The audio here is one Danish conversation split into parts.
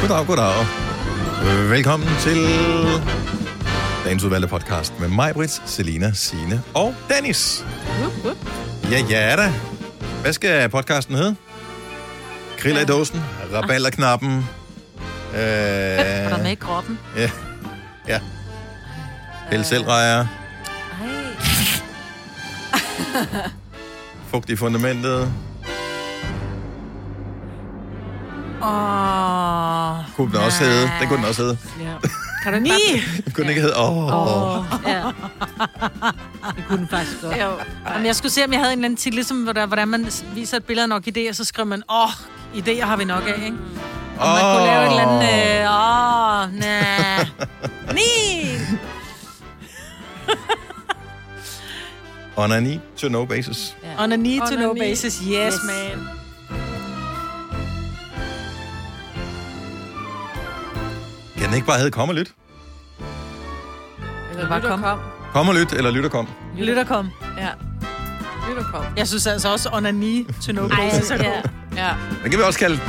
Goddag, goddag. Velkommen til dagens udvalgte podcast med mig, Britt, Selina, Sine og Dennis. Ja, ja da. Hvad skal podcasten hedde? Kriller i dåsen, rabalderknappen. Øh, Er der med i kroppen? ja. ja. Pæl selvrejer, fugt i fundamentet. Åh. Kunne den også hedde? Den kunne den også hedde. Kan du ikke Den kunne den ikke hedde. Åh, oh. Ja. Det kunne den faktisk godt. Jo. Jamen, jeg skulle se, om jeg havde en eller anden titel, ligesom, hvor der- hvordan man viser et billede af nok idéer, så skriver man, åh, oh, idéer har vi nok af, ikke? Og man kunne lave et eller andet, øh, åh, oh, nej. Ni! On a need to know basis. On a need On to a know need. basis, yes, Yes. man. Kan den ikke bare hedde Kom og Lyt? Eller Bare lyt og kom. kom. Kom og Lyt, eller Lyt og Kom. Lyt og kom. Ja. Lyt og kom. Jeg synes altså også, on a need to know basis er god. Ja. Den kan vi også kalde...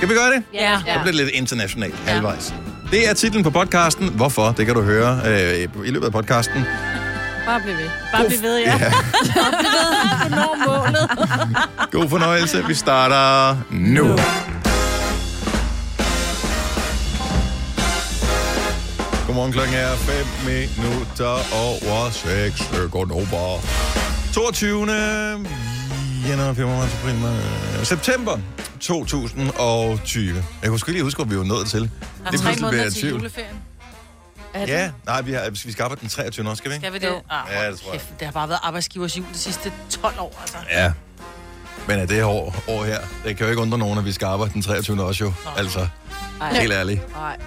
Kan vi gøre det? Ja. Så Ja. bliver det lidt internationalt halvvejs. Det er titlen på podcasten. Hvorfor? Det kan du høre øh, i løbet af podcasten. Bare bliv ved. Bare vi ved, ja. Hvornår målet? God fornøjelse. Vi starter nu. Godmorgen, klokken er 5 minutter over 6 sekunder. 22. januar, februar, marts, april, maj, september 2020. Jeg kunne sgu lige huske, hvor vi var nået til. Der er Det tre bliver måneder jeg i til tvivl. juleferien. Ja, nej, vi, har, vi skal arbejde den 23. også, skal vi ikke? Skal vi det? Ah, Ja, det tror jeg. Kæft, det har bare været arbejdsgivers jul de sidste 12 år, altså. Ja. Men er det her år, år her, det kan jo ikke undre nogen, at vi skal arbejde den 23. også jo. Altså, helt ærligt. Nej. Jeg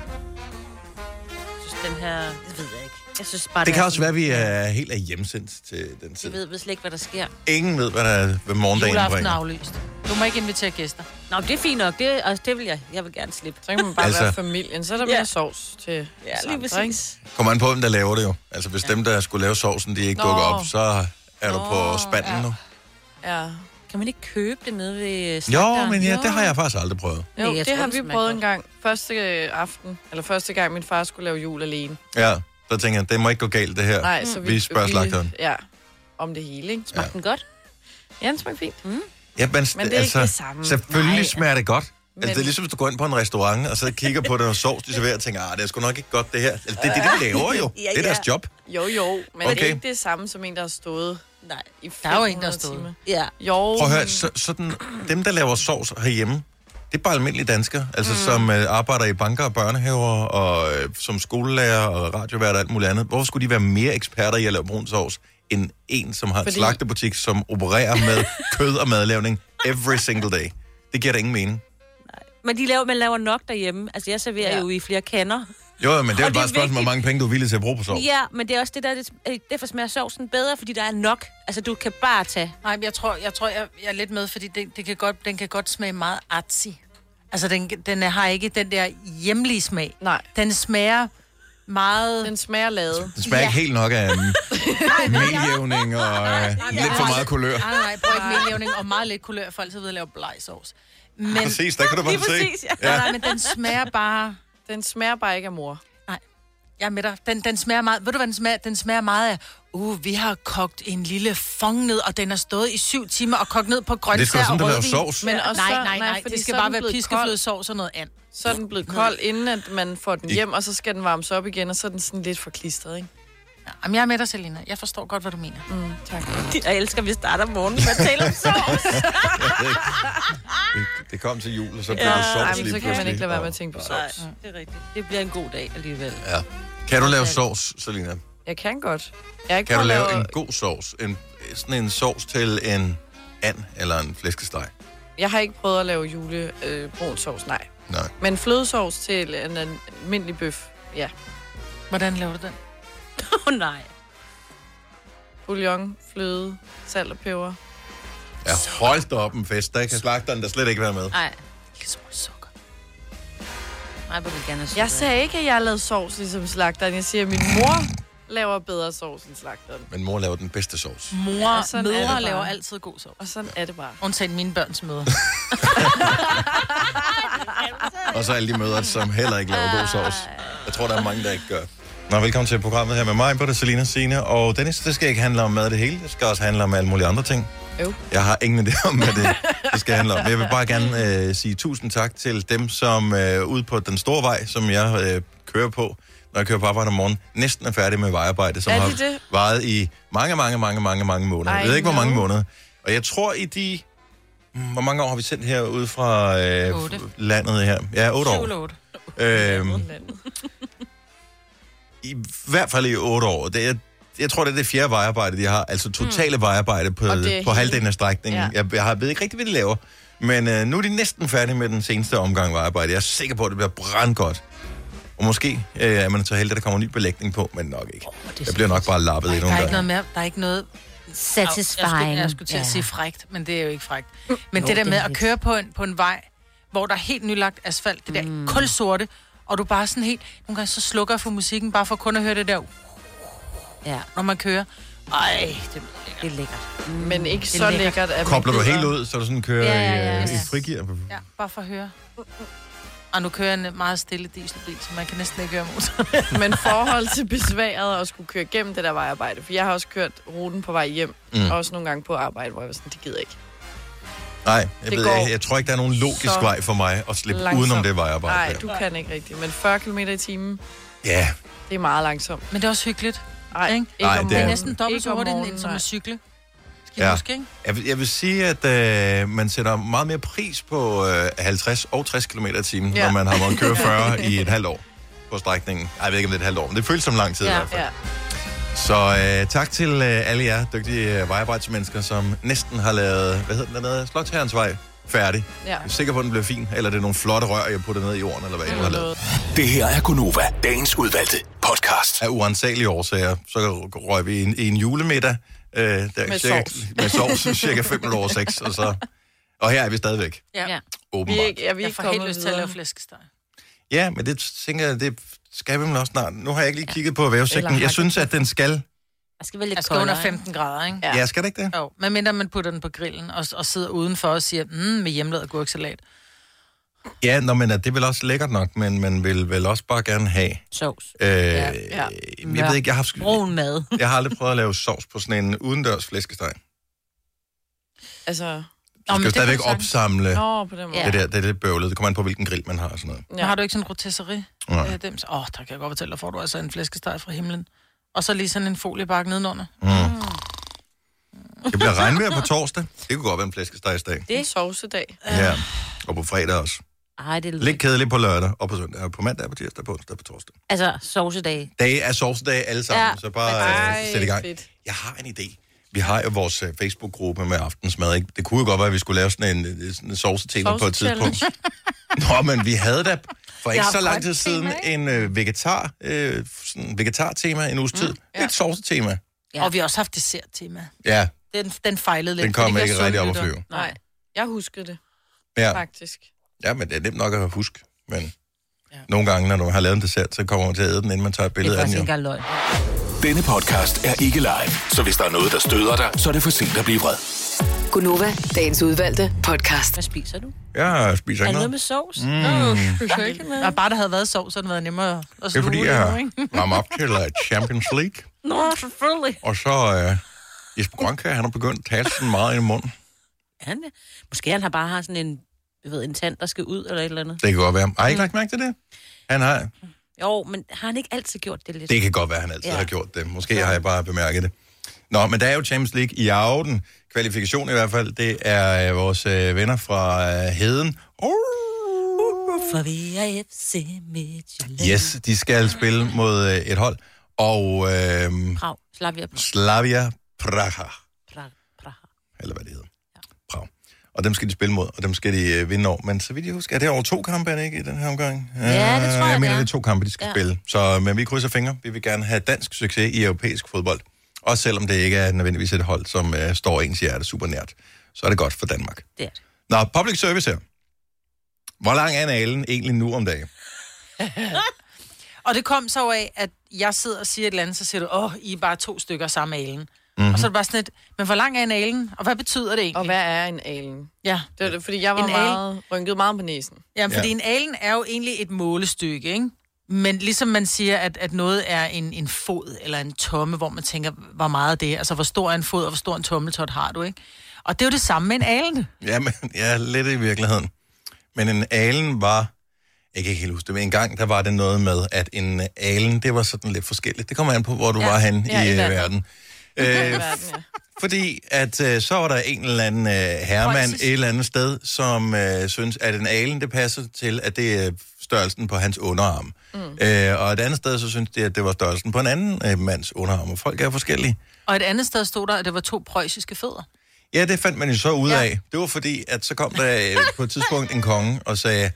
synes, den her... Det ved jeg ikke. Jeg synes bare, Det kan er også være, at vi øh, er helt er hjemsendt til den sådan- Vi tid. ved, ved slet ikke, hvad der sker. Ingen ved, hvad, der, hvad morgendagen Juleaften er bringer. aflyst. Du må ikke invitere gæster. Nå, men det er fint nok. Det, altså, det vil jeg. Jeg vil gerne slippe. Så kan man bare Altså- altså... være familien. Så er der mere Ja. sovs til Ja, alle lige andre, præcis. Kommer an på, hvem der laver det jo. Altså, hvis dem, der skulle lave sovsen, de ikke Nå. dukker op, så er du på spanden nu. ikke? Ja. Kan man ikke købe det nede ved Jo, slagteren? men ja, det har jeg faktisk aldrig prøvet. Jo, jeg det, tror, har det vi smager prøvet godt. en gang. Første øh, aften, eller første gang, min far skulle lave jul alene. Ja, så tænker jeg, det må ikke gå galt, det her. Nej, så vi... Vi spørger slagteren. Ja, om det hele, ikke? Smagte den godt? Mm. Ja, den smagte fint. Ja, men, Men det er altså, ikke det samme. Selvfølgelig Nej. smager det godt. Men... Men- Altså, det er ligesom, hvis du går ind på en restaurant, og så kigger på den sovs, de serverer, og tænker, ah, det er sgu nok ikke godt, det her. Altså, det er det, de laver jo. Ja, Det er ja. deres job. Jo, jo, men okay. det Okay. er ikke det samme som en, der har stået Nej. i Der er jo en, der 500 har stået. timer. Ja. Jo, Prøv at høre, men- så, sådan, dem, der laver sovs herhjemme, det er bare almindelige danskere, altså mm. som øh, arbejder i banker og børnehaver, og øh, som skolelærer og radiovært og alt muligt andet. Hvorfor skulle de være mere eksperter i at lave brun sovs, end en, som har Fordi... en Fordi- slagtebutik, som opererer med kød og madlavning every single day? Det giver da ingen mening. Men de laver, man laver nok derhjemme. Altså, jeg serverer Ja. ja. jo i flere kander. Jo, men Og det det er jo bare er et spørgsmål, hvor vigtigt. mange penge du er villig til at bruge på sovs. Ja, men det er også det der, det, øh, derfor smager sovsen bedre, fordi der er nok. Altså, du kan bare tage. Nej, men jeg tror, jeg, tror, jeg, jeg er lidt med, fordi det, det kan godt, den kan godt smage meget artsy. Altså, den, den er- har ikke den der hjemlige smag. Nej, Den smager meget... den smager lavet. Det smager ja. ikke helt nok af um, meljævning og uh, lidt for meget kulør. Nej, nej, prøv ikke medjævning og meget lidt kulør, for altid ved at lave blegsovs. Men, Præcis, der kan du bare se. præcis, ja. nej, nej, men den smager bare... Den smager bare ikke af mor. Jeg er med dig. Den, den smager meget... Ved du, hvad den smager? Den smager meget af... Uh, vi har kogt en lille fong ned, og den har stået i syv timer og kogt ned på Det er sgu da grøntsager sådan, og der laver rødvin. sovs. Men også nej, så- nej, nej, nej, fordi det skal så er bare den være blevet piskeflødesovs og noget Mm. andet. kold. Så er den blevet kold, inden at man får den hjem, og så skal den varmes op igen, og så er den sådan lidt forklistret, ikke? Ja, Jamen, jeg er med dig, Selina. Jeg forstår godt, hvad du mener. Mm. Tak. Jeg elsker, at vi starter morgenen med at tale om sovs. Det- Det kom til jul, og så blev det Ej, sovs men lige så kan man pludselig. ikke lade være med at tænke på Nej, sovs. det er rigtigt. Det bliver en god dag alligevel. Ja. Kan du lave sovs, Selina? Jeg kan godt. Jeg er ikke Kan du for at lave lave- en god sovs? En, sådan en sovs til en and eller en flæskesteg? Jeg har ikke prøvet at lave julebrun sovs, nej. Nej. Men flødesovs til en almindelig bøf, ja. Hvordan laver du den? Åh, oh, nej. Bouillon, fløde, salt og peber. Ja, hold da op en fest. Der kan slagteren der slet ikke være med. Nej. Lille smule sukker. Nej, jeg vil gerne have sukker. Jeg sagde ikke, at jeg lavede sovs ligesom slagteren. Jeg siger, at min mor laver bedre sovs end slagteren. Men mor laver den bedste sovs. Mor, Ja, sådan er det mødre bare. laver altid god sovs. Og sådan er det bare. Undtagen mine børns mødre. Og så alle de mødre, som heller ikke laver god sovs. Jeg tror, der er mange, der ikke gør. Nå, velkommen til programmet her med mig, Britta, Selina, Signe og Dennis. Det skal ikke handle om mad det hele. Det skal også handle om alle mulige andre ting. Øv. Jeg har ingen idé om, hvad det, det skal handle om. Men jeg vil bare gerne øh, sige tusind tak til dem, som øh, ude på den store vej, som jeg øh, kører på, når jeg kører på arbejde om morgenen, næsten er færdig med vejarbejde, som Er de har det? varet i mange, mange, mange, mange, mange måneder. Ej, jeg ved ikke, hvor mange no. måneder. Og jeg tror i de... hmm, Hvor mange år har vi sendt her ude fra øh, Otte. landet her? Ja, otte år. Sjovt. Øhm, I hvert fald i otte år. Det er, jeg tror, det er det fjerde vejarbejde, de har. Altså totale mm. vejarbejde på, Og det er på hele- halvdelen af strækningen. Ja. Ja. Jeg, jeg har- ved ikke rigtigt, hvad de laver. Men øh, nu er de næsten færdige med den seneste omgang vejarbejde. Jeg er sikker på, at det bliver brandgodt. Og måske øh, er man så heldig, at der kommer ny belægning på, men nok ikke. Oh, jeg bliver nok bare lappet i Der nogle er ikke gange. noget mere, der er ikke noget... Jeg skulle, Satisfying. jeg skulle til at Ja. Mm. sige frægt, men det er jo ikke frægt. Men Jo, det der det er med at lidt. køre på en, på en vej, hvor der er helt nylagt asfalt, det der mm. kulsorte, og du bare sådan helt... Nogle gange så slukker jeg for musikken, bare for kun at høre det der, Ja, når man kører. Ej, det det er lækkert. Mm. Men ikke er så lækkert. lækkert, at man Kobler du gider. helt ud, så du sådan kører Ja, ja, i, ja, øh, i ja. frigear? Ja, bare for at høre. Mm, Og nu kører jeg en meget stille dieselbil, så man kan næsten ikke høre motor. Men forhold til besværet og skulle køre igennem det der vejarbejde. For jeg har også kørt ruten på vej hjem. Mm. Mm. Også nogle gange på arbejde, hvor jeg var sådan, det gider ikke. Nej, jeg, Det ved, går jeg, jeg tror ikke, der er nogen logisk så vej for mig at slippe langsomt. udenom det vejarbejde. Nej, der. du kan ikke rigtigt. Men 40 km i timen, Ja, det er meget langsomt. Men det er også hyggeligt. Ej, Ikke? ikke Nej, om det Det er er- Ja. morgenen. næsten dobbelt Ikke så om hurtigt, end morgenen, som nej. at cykle. Skal I Ja. huske, ikke? Jeg vil, jeg vil sige, at øh, man sætter meget mere pris på øh, 50 og 60 km i timen, ja. Ja. når man har måttet køre 40 i et halvt år på strækningen. Ej, jeg ved ikke, om det er et halvt år, men det føles som lang tid ja. i hvert fald. Ja. Så øh, tak til øh, alle jer dygtige øh, vejarbejdsmennesker, som næsten har lavet, hvad hedder den dernede, Slottsherrens Vej færdig. Ja. Jeg er sikker på, at den bliver fin, eller det er nogle flotte rør, jeg putter ned i jorden, eller hvad jeg har lavet. Det her er Gunova, dagens udvalgte podcast. af uansagelige årsager, så røg vi i en, i en julemiddag. Øh, der, Med cirka, sovs. Med sovs, cirka 5 minutter over 6, og så... Og her er vi stadigvæk, Ja. Ja. ja. Vi åbenbart. er ikke, ja, vi er Jeg ikke får helt kommet lyst til at videre. lave flæskesteg. Ja, men det tænker jeg, det skal vi vel også snart. Nu har jeg ikke lige kigget på vævesigten. Eller Jeg hakke. synes, at den skal. Jeg skal være lidt Jeg skal under koldere, ikke? 15 grader, ikke? Ja, skal det ikke det? Jo, medmindre man putter den på grillen og, og sidder udenfor og siger, mm, med hjemmelavet gurksalat. Ja, nå, men at det er vel også lækkert nok, men man vil vel også bare gerne have... Sovs. Øh, Ja, ja. Jeg ved ikke, jeg har, haft- Brun mad. jeg har aldrig prøvet at lave sovs på sådan en udendørs flæskesteg. Du Altså, Nå, skal jo det kan stadigvæk du sagtens. opsamle nå, på den måde. Ja. Ja. det der, det er lidt bøvlet. Det kommer an på, hvilken grill man har og sådan noget. Ja. Har du ikke sådan en rotisserie? Nej. Øh, dem? Åh, oh, der kan jeg godt fortælle dig, får du altså en flæskesteg fra himlen. Og så lige sådan en foliebakke nedenunder. Mm. Mm. Det bliver regnvejr på torsdag. Det kunne godt være en flæskestegsdag. Det er en sovsedag. Ja. Og på fredag også. Ej, det er Lidt kedeligt på lørdag og på søndag. Og på mandag, på tirsdag, på onsdag, på torsdag. Altså, sovsedag. Dage er sovsedage alle sammen, ja. Ja. så bare øh, Ej, sæt i gang. fedt. Jeg har en idé. Vi har jo vores øh, Facebook-gruppe med aftensmad. Ikke? Det kunne jo godt være, at vi skulle lave sådan en, øh, sådan en sovsetema på et Sovse-challenge. tidspunkt. Nå, men vi havde da for ikke har så lang grønt tid siden tema, en øh, vegetar, øh, sådan vegetar-tema en uges tid. Mm, ja. Et sovsetema. Ja. Og vi har også haft dessert-tema. Ja, Den, den fejlede lidt. den kom for det ikke gør rigtig op at sundt lytter. flyve. Nej, jeg huskede det Ja. faktisk. Ja, men det er nemt nok at huske. Men ja. nogle gange, når du har lavet en dessert, så kommer man til at æde den, inden man tager Det et billede er af den. faktisk Jo. ikke engang løgn. Denne podcast er ikke live, så hvis der er noget, der støder dig, så er det for sent at blive vred. Gunova, dagens udvalgte podcast. Hvad spiser du? Jeg spiser Er ikke det noget noget. med sovs? Ja. Og bare der havde været sov, så havde det været nemmere at sluge Det er fordi, det nu, jeg ikke? varmer op til øh, Champions League, Nå, selvfølgelig. og så øh, Jesper Grønkær, han har begyndt at tale sådan meget i munden. Han, måske han har bare har sådan en, jeg ved, en tand, der skal ud eller et eller andet. Det kan godt være. Har I ikke lagt mærke til det? Han har, Jo, men har han ikke altid gjort det lidt? det kan godt være, han altid ja. Ja. har gjort det. Måske har jeg bare bemærket det. Nå, men der er jo Champions League i aften. Kvalifikation i hvert fald, det er øh, vores øh, venner fra øh, Heden. Oh. For vi er FC Midtjylland. Yes, de skal spille mod øh, et hold. Og øh, Prag. Slavia Prag. Slavia Praha, Prag. Prag. eller hvad det hedder. Prag. Og dem skal de spille mod, og dem skal de øh, vinde over. Men så vidt jeg husker, er det over to kampe, er det ikke, i den her omgang? Ja, det tror jeg, Jeg det mener, er. det er to kampe, de skal ja. Ja. spille. Så men vi krydser fingre. Vi vil gerne have dansk succes i europæisk fodbold. Også selvom det ikke er nødvendigvis et hold, som øh, står ens hjerte super nært. Så er det godt for Danmark. Det er det. Nå, public service her. Hvor lang er nalen egentlig nu om dagen? Og det kom så af, at jeg sidder og siger et eller andet, så siger du, åh, I er bare to stykker samme alen. Mhm. Mm-hmm. Og så er det bare sådan et, men hvor lang er analen? Og hvad betyder det egentlig? Og hvad er en alen? Ja. Det var det, fordi jeg var En alen? meget, rynket meget på næsen. Jamen, Ja. fordi en alen er jo egentlig et målestykke, ikke? Men ligesom man siger, at, at noget er en, en fod eller en tomme, hvor man tænker, hvor meget det er. Altså, hvor stor er en fod, og hvor stor en tommeltot har du, ikke? Og det er jo det samme med en alen. Ja, men, ja, lidt i virkeligheden. Men en alen var... Jeg kan ikke helt huske det, men en gang, der var det noget med, at en alen, det var sådan lidt forskelligt. Det kommer an på, hvor du ja, var henne ja, i, i i verden. verden. Øh, Verden, ja. Fordi at øh, så var der en eller anden øh, herremand et eller andet sted, som øh, synes, at en alen, det passer til, at det er størrelsen på hans underarm. Mm. Øh, og et andet sted, så synes de, at det var størrelsen på en anden øh, mands underarm. Og folk er forskellige. Og et andet sted stod der, at det var to preussiske fødder. Ja, det fandt man jo så ud af. Det var fordi, at så kom der øh, på et tidspunkt en konge og sagde,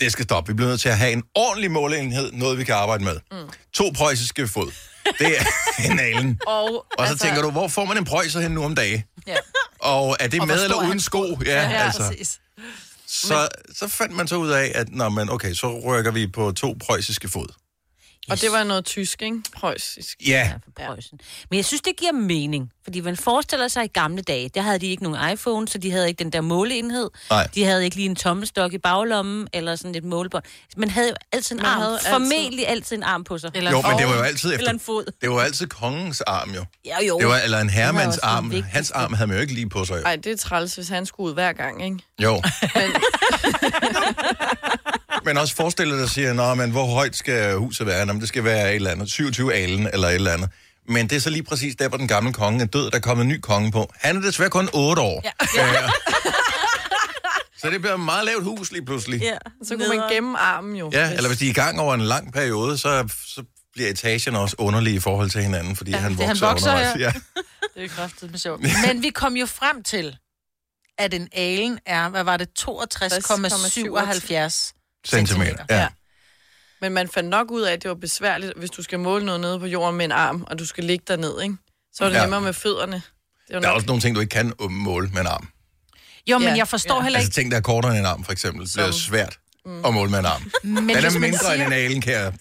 det skal stoppe. Vi bliver nødt til at have en ordentlig måleenhed, noget vi kan arbejde med. Mm. To preussiske fod. Det er en alen. Og, Og så altså, tænker du, hvor får man en prøjser hen nu om dagen? Ja. Og er det Og hvor med eller stor er uden hans sko? Ja, ja, Ja, altså. præcis. Så, så fandt man så ud af, at nå, men okay, så rykker vi på to preussiske fod. Og det var noget tysk, ikke? Preussisk. Ja, Ja, for Preussen. Men jeg synes, det giver mening. Fordi man forestiller sig i gamle dage, der havde de ikke nogen iPhone, så de havde ikke den der måleenhed. Nej. De havde ikke lige en tommelstok i baglommen, eller sådan et målebånd. Man havde jo altid en Man arm. havde altid- Formentlig altid en arm på sig. Eller jo, en men det ovn. var jo altid Eller en efter... fod. Det var jo altid kongens arm, jo. Ja, jo. Det var, eller en Det var herremands også den arm. vigtigste. Hans arm havde man jo ikke lige på sig, jo. Ej, det er træls, hvis han skulle ud hver gang, ikke? jo. Men, Men også forestiller dig, siger, nå, men hvor højt skal huset være? Nå, men det skal være et eller andet. 27 alen eller et eller andet. Men det er så lige præcis der, hvor den gamle konge er død, der er kommet en ny konge på. Han er desværre kun 8 år. Ja. Øh, så det bliver et meget lavt hus lige pludselig. Ja. så kunne man gemme armen jo. Ja, eller hvis de er i gang over en lang periode, så, så bliver etagen også underlig i forhold til hinanden, fordi ja, han fordi vokser, han vokser, undervejs. Ja. Det er kraftigt med sjovt. Men vi kom jo frem til, at en alen er, hvad var det, 62,77 Centimeter. Ja. Ja. Men man fandt nok ud af, at det var besværligt, hvis du skal måle noget nede på jorden med en arm, og du skal ligge derned, ikke? Så er det Ja. ja. nemmere med fødderne. Det var Der er nok- også nogle ting, du ikke kan øh, måle med en arm. Jo, men Ja, jeg forstår ja. heller Altså ikke... Mm. ting, der er kortere end en arm, for eksempel, bliver Som- svært at måle med en arm. Men, Den hvis er man mindre end siger- en alen, kan jeg...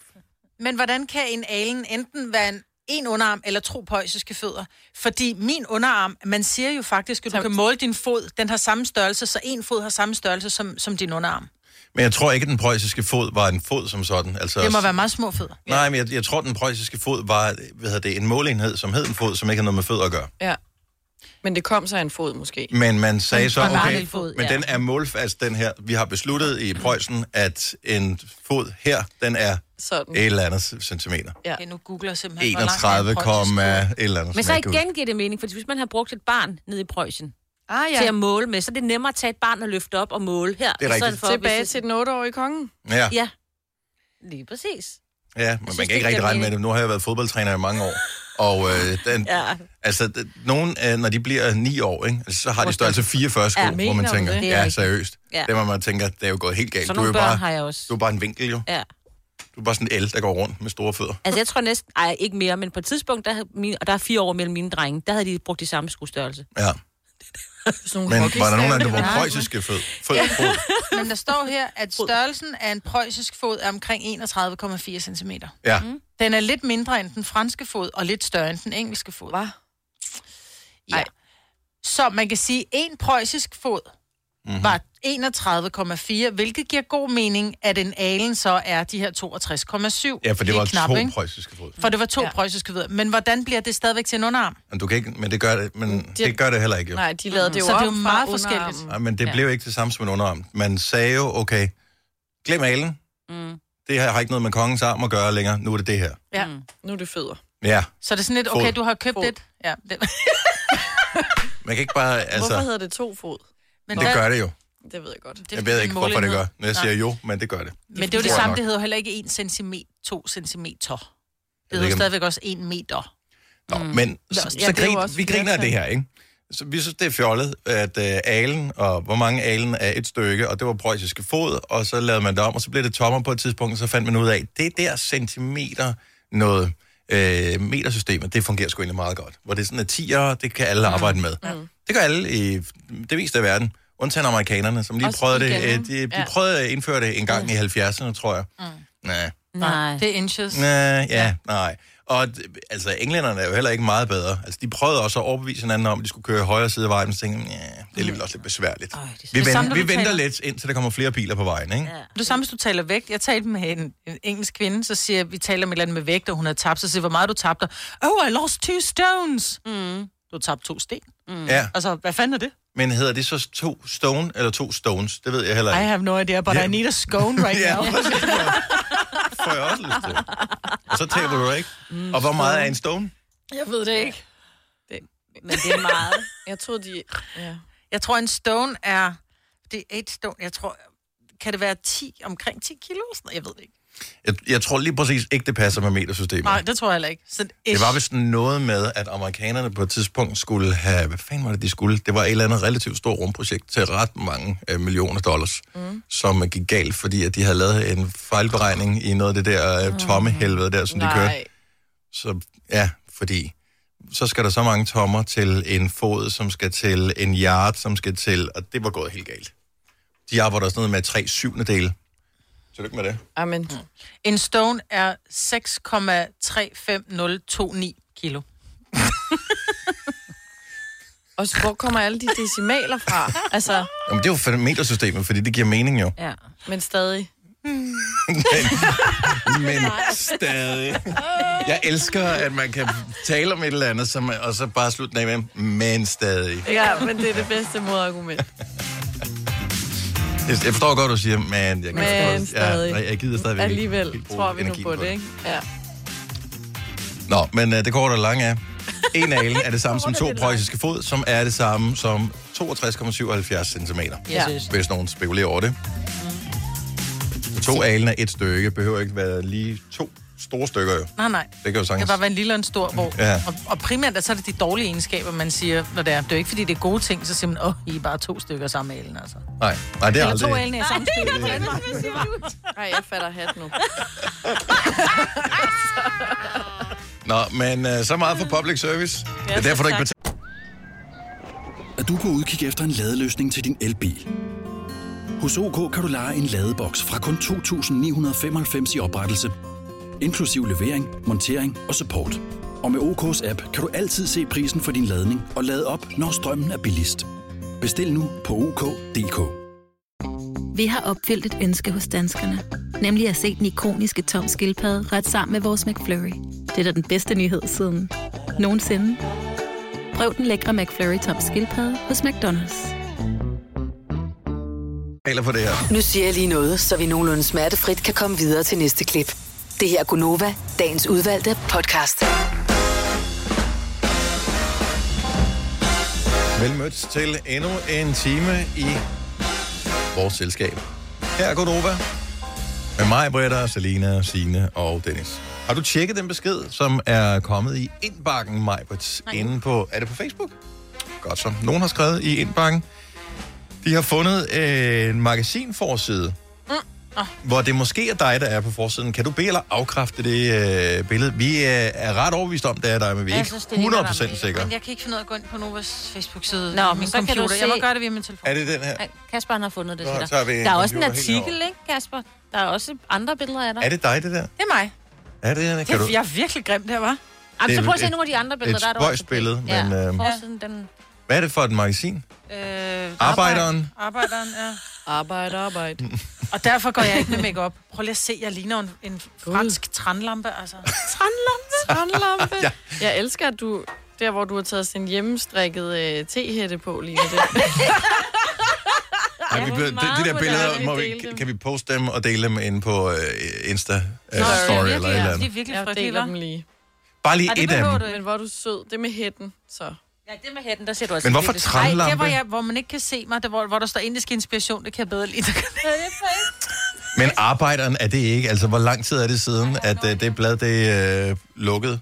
Men hvordan kan en alen enten være en, en underarm eller tro preussiske fødder? Fordi min underarm, man siger jo faktisk, at du Så- kan måle din fod, den har samme størrelse, så en fod har samme størrelse som, som din underarm. Men jeg tror ikke, at den preussiske fod var en fod som sådan. Altså, Det må være meget små fødder. Nej, men jeg, jeg tror, den preussiske fod var hvad hedder det, en måleenhed, som hed en fod, som ikke havde noget med fødder at gøre. Ja. Men det kom så af en fod, måske. Men man sagde så, var en okay, vanlig fod, men ja. den er målfast, den her. Vi har besluttet i Preussen, at en fod her, den er Sådan. et eller andet centimeter. Ja. Okay, nu googler jeg simpelthen, hvor langt er 31, en preussisk komma fod. et eller andet. Men som så jeg ikke kan igen giver det mening, for hvis man har brugt et barn nede i Preussen Ah ja. til at måle med, så er det nemmere at tage et barn og løfte op og måle her. er i stedet rigtigt. For, Tilbage hvis til det- den 8-årige konge. huske. Ja, Ja, lige præcis. ja, men synes, man det kan ikke giver rigtig regne med mening. det. Nu har jeg været fodboldtræner i mange år. Og øh, den, ja. Ja. altså, d- nogen, øh, når de bliver 9 år, ikke? Altså, så har de størrelse 44 sko, Ja, ja, hvor man mener du tænker, det? Det er ja, rigtigt. seriøst. Ja. Ja. Det må man tænker, det er jo gået helt galt. Så du, er jo nogle børn bare, har jeg også. du er bare en vinkel, jo. Ja. Du er bare sådan en el, der går rundt med store fødder. Altså, jeg tror næsten... Ej, ikke mere, men på et tidspunkt, der, havde mine, og der er fire år mellem mine drenge, der havde de brugt de samme skostørrelse. Ja. Sådan nogle Men var der hockeystave. nogen af dem, der var Nej. preussiske fød? fød, fod? Men der står her, at størrelsen af en preussisk fod er omkring 31,4 cm. Ja. Mm. Den er lidt mindre end den franske fod, og lidt større end den engelske fod. Hva? Ja. Ej. Så man kan sige, at en preussisk fod Mhm. mm-hmm. var 31,4, hvilket giver god mening, at en alen så er de her 62,7. Ja, for det Lige var to ikke? preussiske fod. For det var to ja. Ja. preussiske fødder. Men hvordan bliver det stadigvæk til en underarm? Mm. Men, du kan ikke, men det gør det, men det, gør det heller ikke, jo. Nej, de lavede det jo Så det er om jo fra meget forskelligt. underarmen. Nej, men det Ja. ja. blev ikke det samme som en underarm. Man sagde jo, okay, glem alen. Mm. Det her har ikke noget med kongens arm at gøre længere. Nu er det det her. Ja. Nu er det fødder. Ja, Så det er sådan lidt, Fod. okay, du har købt Fod. et. Ja, det, man kan ikke bare, altså, Hvorfor hedder det to fod? men det gør det jo. Det ved jeg godt. Det Jeg ved ikke, hvorfor det gør. Når jeg Nej. siger jo, men det gør det. Men det er jo det tror jeg samme, nok. det hedder jo heller ikke 1 cm, 2 cm. Det ved hedder ikke, om- stadigvæk også 1 meter. Nå, men så, Mm. Ja, så det er jo grin, også vi griner af det flertal. her, ikke? Så vi synes, det er fjollet, at øh, alen, og hvor mange alen er et stykke, og det var preussiske fod, og så lavede man det om, og så blev det tommer på et tidspunkt, og så fandt man ud af, det der centimeter noget øh, metersystemet, det fungerer sgu egentlig meget godt. Hvor det er sådan, at 10'ere, det kan Mm. alle arbejde med. Det gør alle i det meste af verden, undtagen amerikanerne, som lige Også prøvede det. igen, Øh, ikke? de, de Ja. prøvede at indføre det en gang i 70'erne, tror jeg. Mm. Nej. Nej. Det er inches. Nej, ja, nej. Og d- altså, englænderne er jo heller ikke meget bedre. Altså, de prøvede også at overbevise hinanden om, at de skulle køre højre side af vejen, men så tænkte, jeg, "Nja, det er alligevel også lidt besværligt. vi Det er samme, venter, når vi du venter taler- lidt, indtil der kommer flere biler på vejen, ikke? Det er det samme, hvis du taler vægt. Jeg talte med en, en engelsk kvinde, så siger jeg, vi taler om et eller andet med vægt, og hun havde tabt, så siger jeg, hvor meget du tabte. Oh, I lost two stones. Mm. Du tabte to sten. Mm. Ja. Altså, hvad fanden er det? Men hedder det så to stone eller to stones? Det ved jeg heller I ikke. have no idea, but Ja. I need a scone right Ja, now. præcis. Får jeg også lyst til. Og så taber du ikke. Mm, Og hvor meget er en stone? Jeg ved det ikke. Men det er meget. Jeg troede, de... Ja. Jeg tror, en stone er... Det er et stone. Jeg tror... Kan det være 10, omkring 10 kilo? Sådan noget? Jeg ved det ikke. Jeg, jeg tror lige præcis ikke, det passer med metersystemet. Nej, det tror jeg heller ikke. Så Det var vist noget med, at amerikanerne på et tidspunkt skulle have... Hvad fanden var det, de skulle? Det var et eller andet relativt stort rumprojekt til ret mange øh, millioner dollars, mm. som øh, gik galt, fordi at de havde lavet en fejlberegning i noget af det der øh, tomme helvede der, som de kørte. Nej. Så ja, fordi så skal der så mange tommer til en fod, som skal til en yard, som skal til... Og det var gået helt galt. De arbejder også noget med tre syvendedele. Tillykke med det. Amen. Mm. En stone er 6,35029 kilo. Og så, hvor kommer alle de decimaler fra? Altså, Jamen, det er jo for metersystemet, fordi det giver mening jo. Ja. men stadig. Men stadig. Jeg elsker, at man kan tale om et eller andet, som, og så bare slutte den af med, men stadig. Ja, men det er det bedste modargument. Jeg jeg forstår godt, du siger, men jeg, kan Men stadig. stadig. Ja, nej, jeg gider stadigvæk ikke Alligevel helt bruge tror vi nu energien på det, ikke? Ja. Nå, men øh, det korte og lange er, en alen er det samme som to preussiske fod, som er det samme som 62,77 cm. Ja. Hvis nogen spekulerer over det. To alen er et stykke, behøver ikke være lige to store stykker jo. Nej, nej. Det kan jo Det kan sagtens. bare være en lille og en stor, hvor... Ja. Og, og primært er så er det de dårlige egenskaber, man siger, når det er. Det er jo ikke, fordi det er gode ting, så siger man, åh, oh, I er bare to stykker sammen med alen, altså. Nej, nej, det er Eller to aldrig. alene er samme stykke. Ej, jeg fatter hat nu. Nå, men øh, så meget for public service. det er derfor, du ikke betaler. Er du på udkig efter en ladeløsning til din elbil? Hos OK kan du lege en ladeboks fra kun 2.995 i oprettelse, inklusiv levering, montering og support. Og med OK's app kan du altid se prisen for din ladning og lade op, når strømmen er billigst. Bestil nu på OK.dk. Vi har opfyldt et ønske hos danskerne. Nemlig at se den ikoniske tom skildpadde ret sammen med vores McFlurry. Det er da den bedste nyhed siden nogensinde. Prøv den lækre McFlurry tom skildpadde hos McDonald's. betaler for det her. Nu siger jeg lige noget, så vi nogenlunde smertefrit kan komme videre til næste klip. Det her er Gunova, dagens udvalgte podcast. Velmødt til endnu en time i vores selskab. Her er Godova. Med mig, Britta, Selina, Sine og Dennis. Har du tjekket den besked, som er kommet i indbakken, Majbrits, inde på... Er det på Facebook? Godt så. Nogen har skrevet i indbakken. De har fundet øh, en magasinforside, Mm. Ah. hvor det måske er dig, der er på forsiden. Kan du bede eller afkræfte det øh, billede? Vi øh, er ret overbevist om, det er dig, men vi er Jeg ikke synes, det ligner dig, 100% sikre. Men jeg kan ikke finde ud af at gå ind på Novas Facebook-side. Nå, Nå, men min så kan du computer. Jeg må se- gøre det via min telefon. Er det den her? Ej, Kasper han har fundet det Nå, til tager dig. vi en Der er også en computer helt artikel, ikke, Kasper? Der er også andre billeder af dig. Er det dig, det der? Det er mig. Er det det? Kan du... Det, jeg er virkelig grim der, var. Jamen, Det så er prøv at se et- nogle af de andre billeder. et der er der også spøjst billede, ja, men, øhm, forsiden, den... Hvad er det for et magasin? Øh, Arbejderen. Arbejderen, ja. Arbejde, arbejde. Og derfor går jeg ikke med makeup. Prøv lige at se, jeg ligner en, en fransk trænlampe, altså. Trandlampe. Trandlampe. Ja. ja. Jeg elsker, at du... Der, hvor du har taget sådan en hjemmestrikket øh, tehætte på lige nu. Det. Ej, vi bliver, de, de der meget billeder, moderne, må vi vi, delte dem. kan vi poste dem og dele dem ind på øh, Insta øh, Story eller et eller De er andet? virkelig Jeg frygtelige, deler dem hva'? lige. Bare lige Ej, det et af behøver dem. du ikke. Men hvor er du sød. Det med hætten, så. Ja, det med hætten, der ser du altså også. Men hvorfor virkelig- træn- Nej, Brandlampe. der hvor, jeg, hvor man ikke kan se mig, der, hvor, hvor der står indisk inspiration, det kan jeg bedre lide. Men arbejderen er det ikke. Altså, hvor lang tid er det siden, at øh, det blad det øh, lukkede?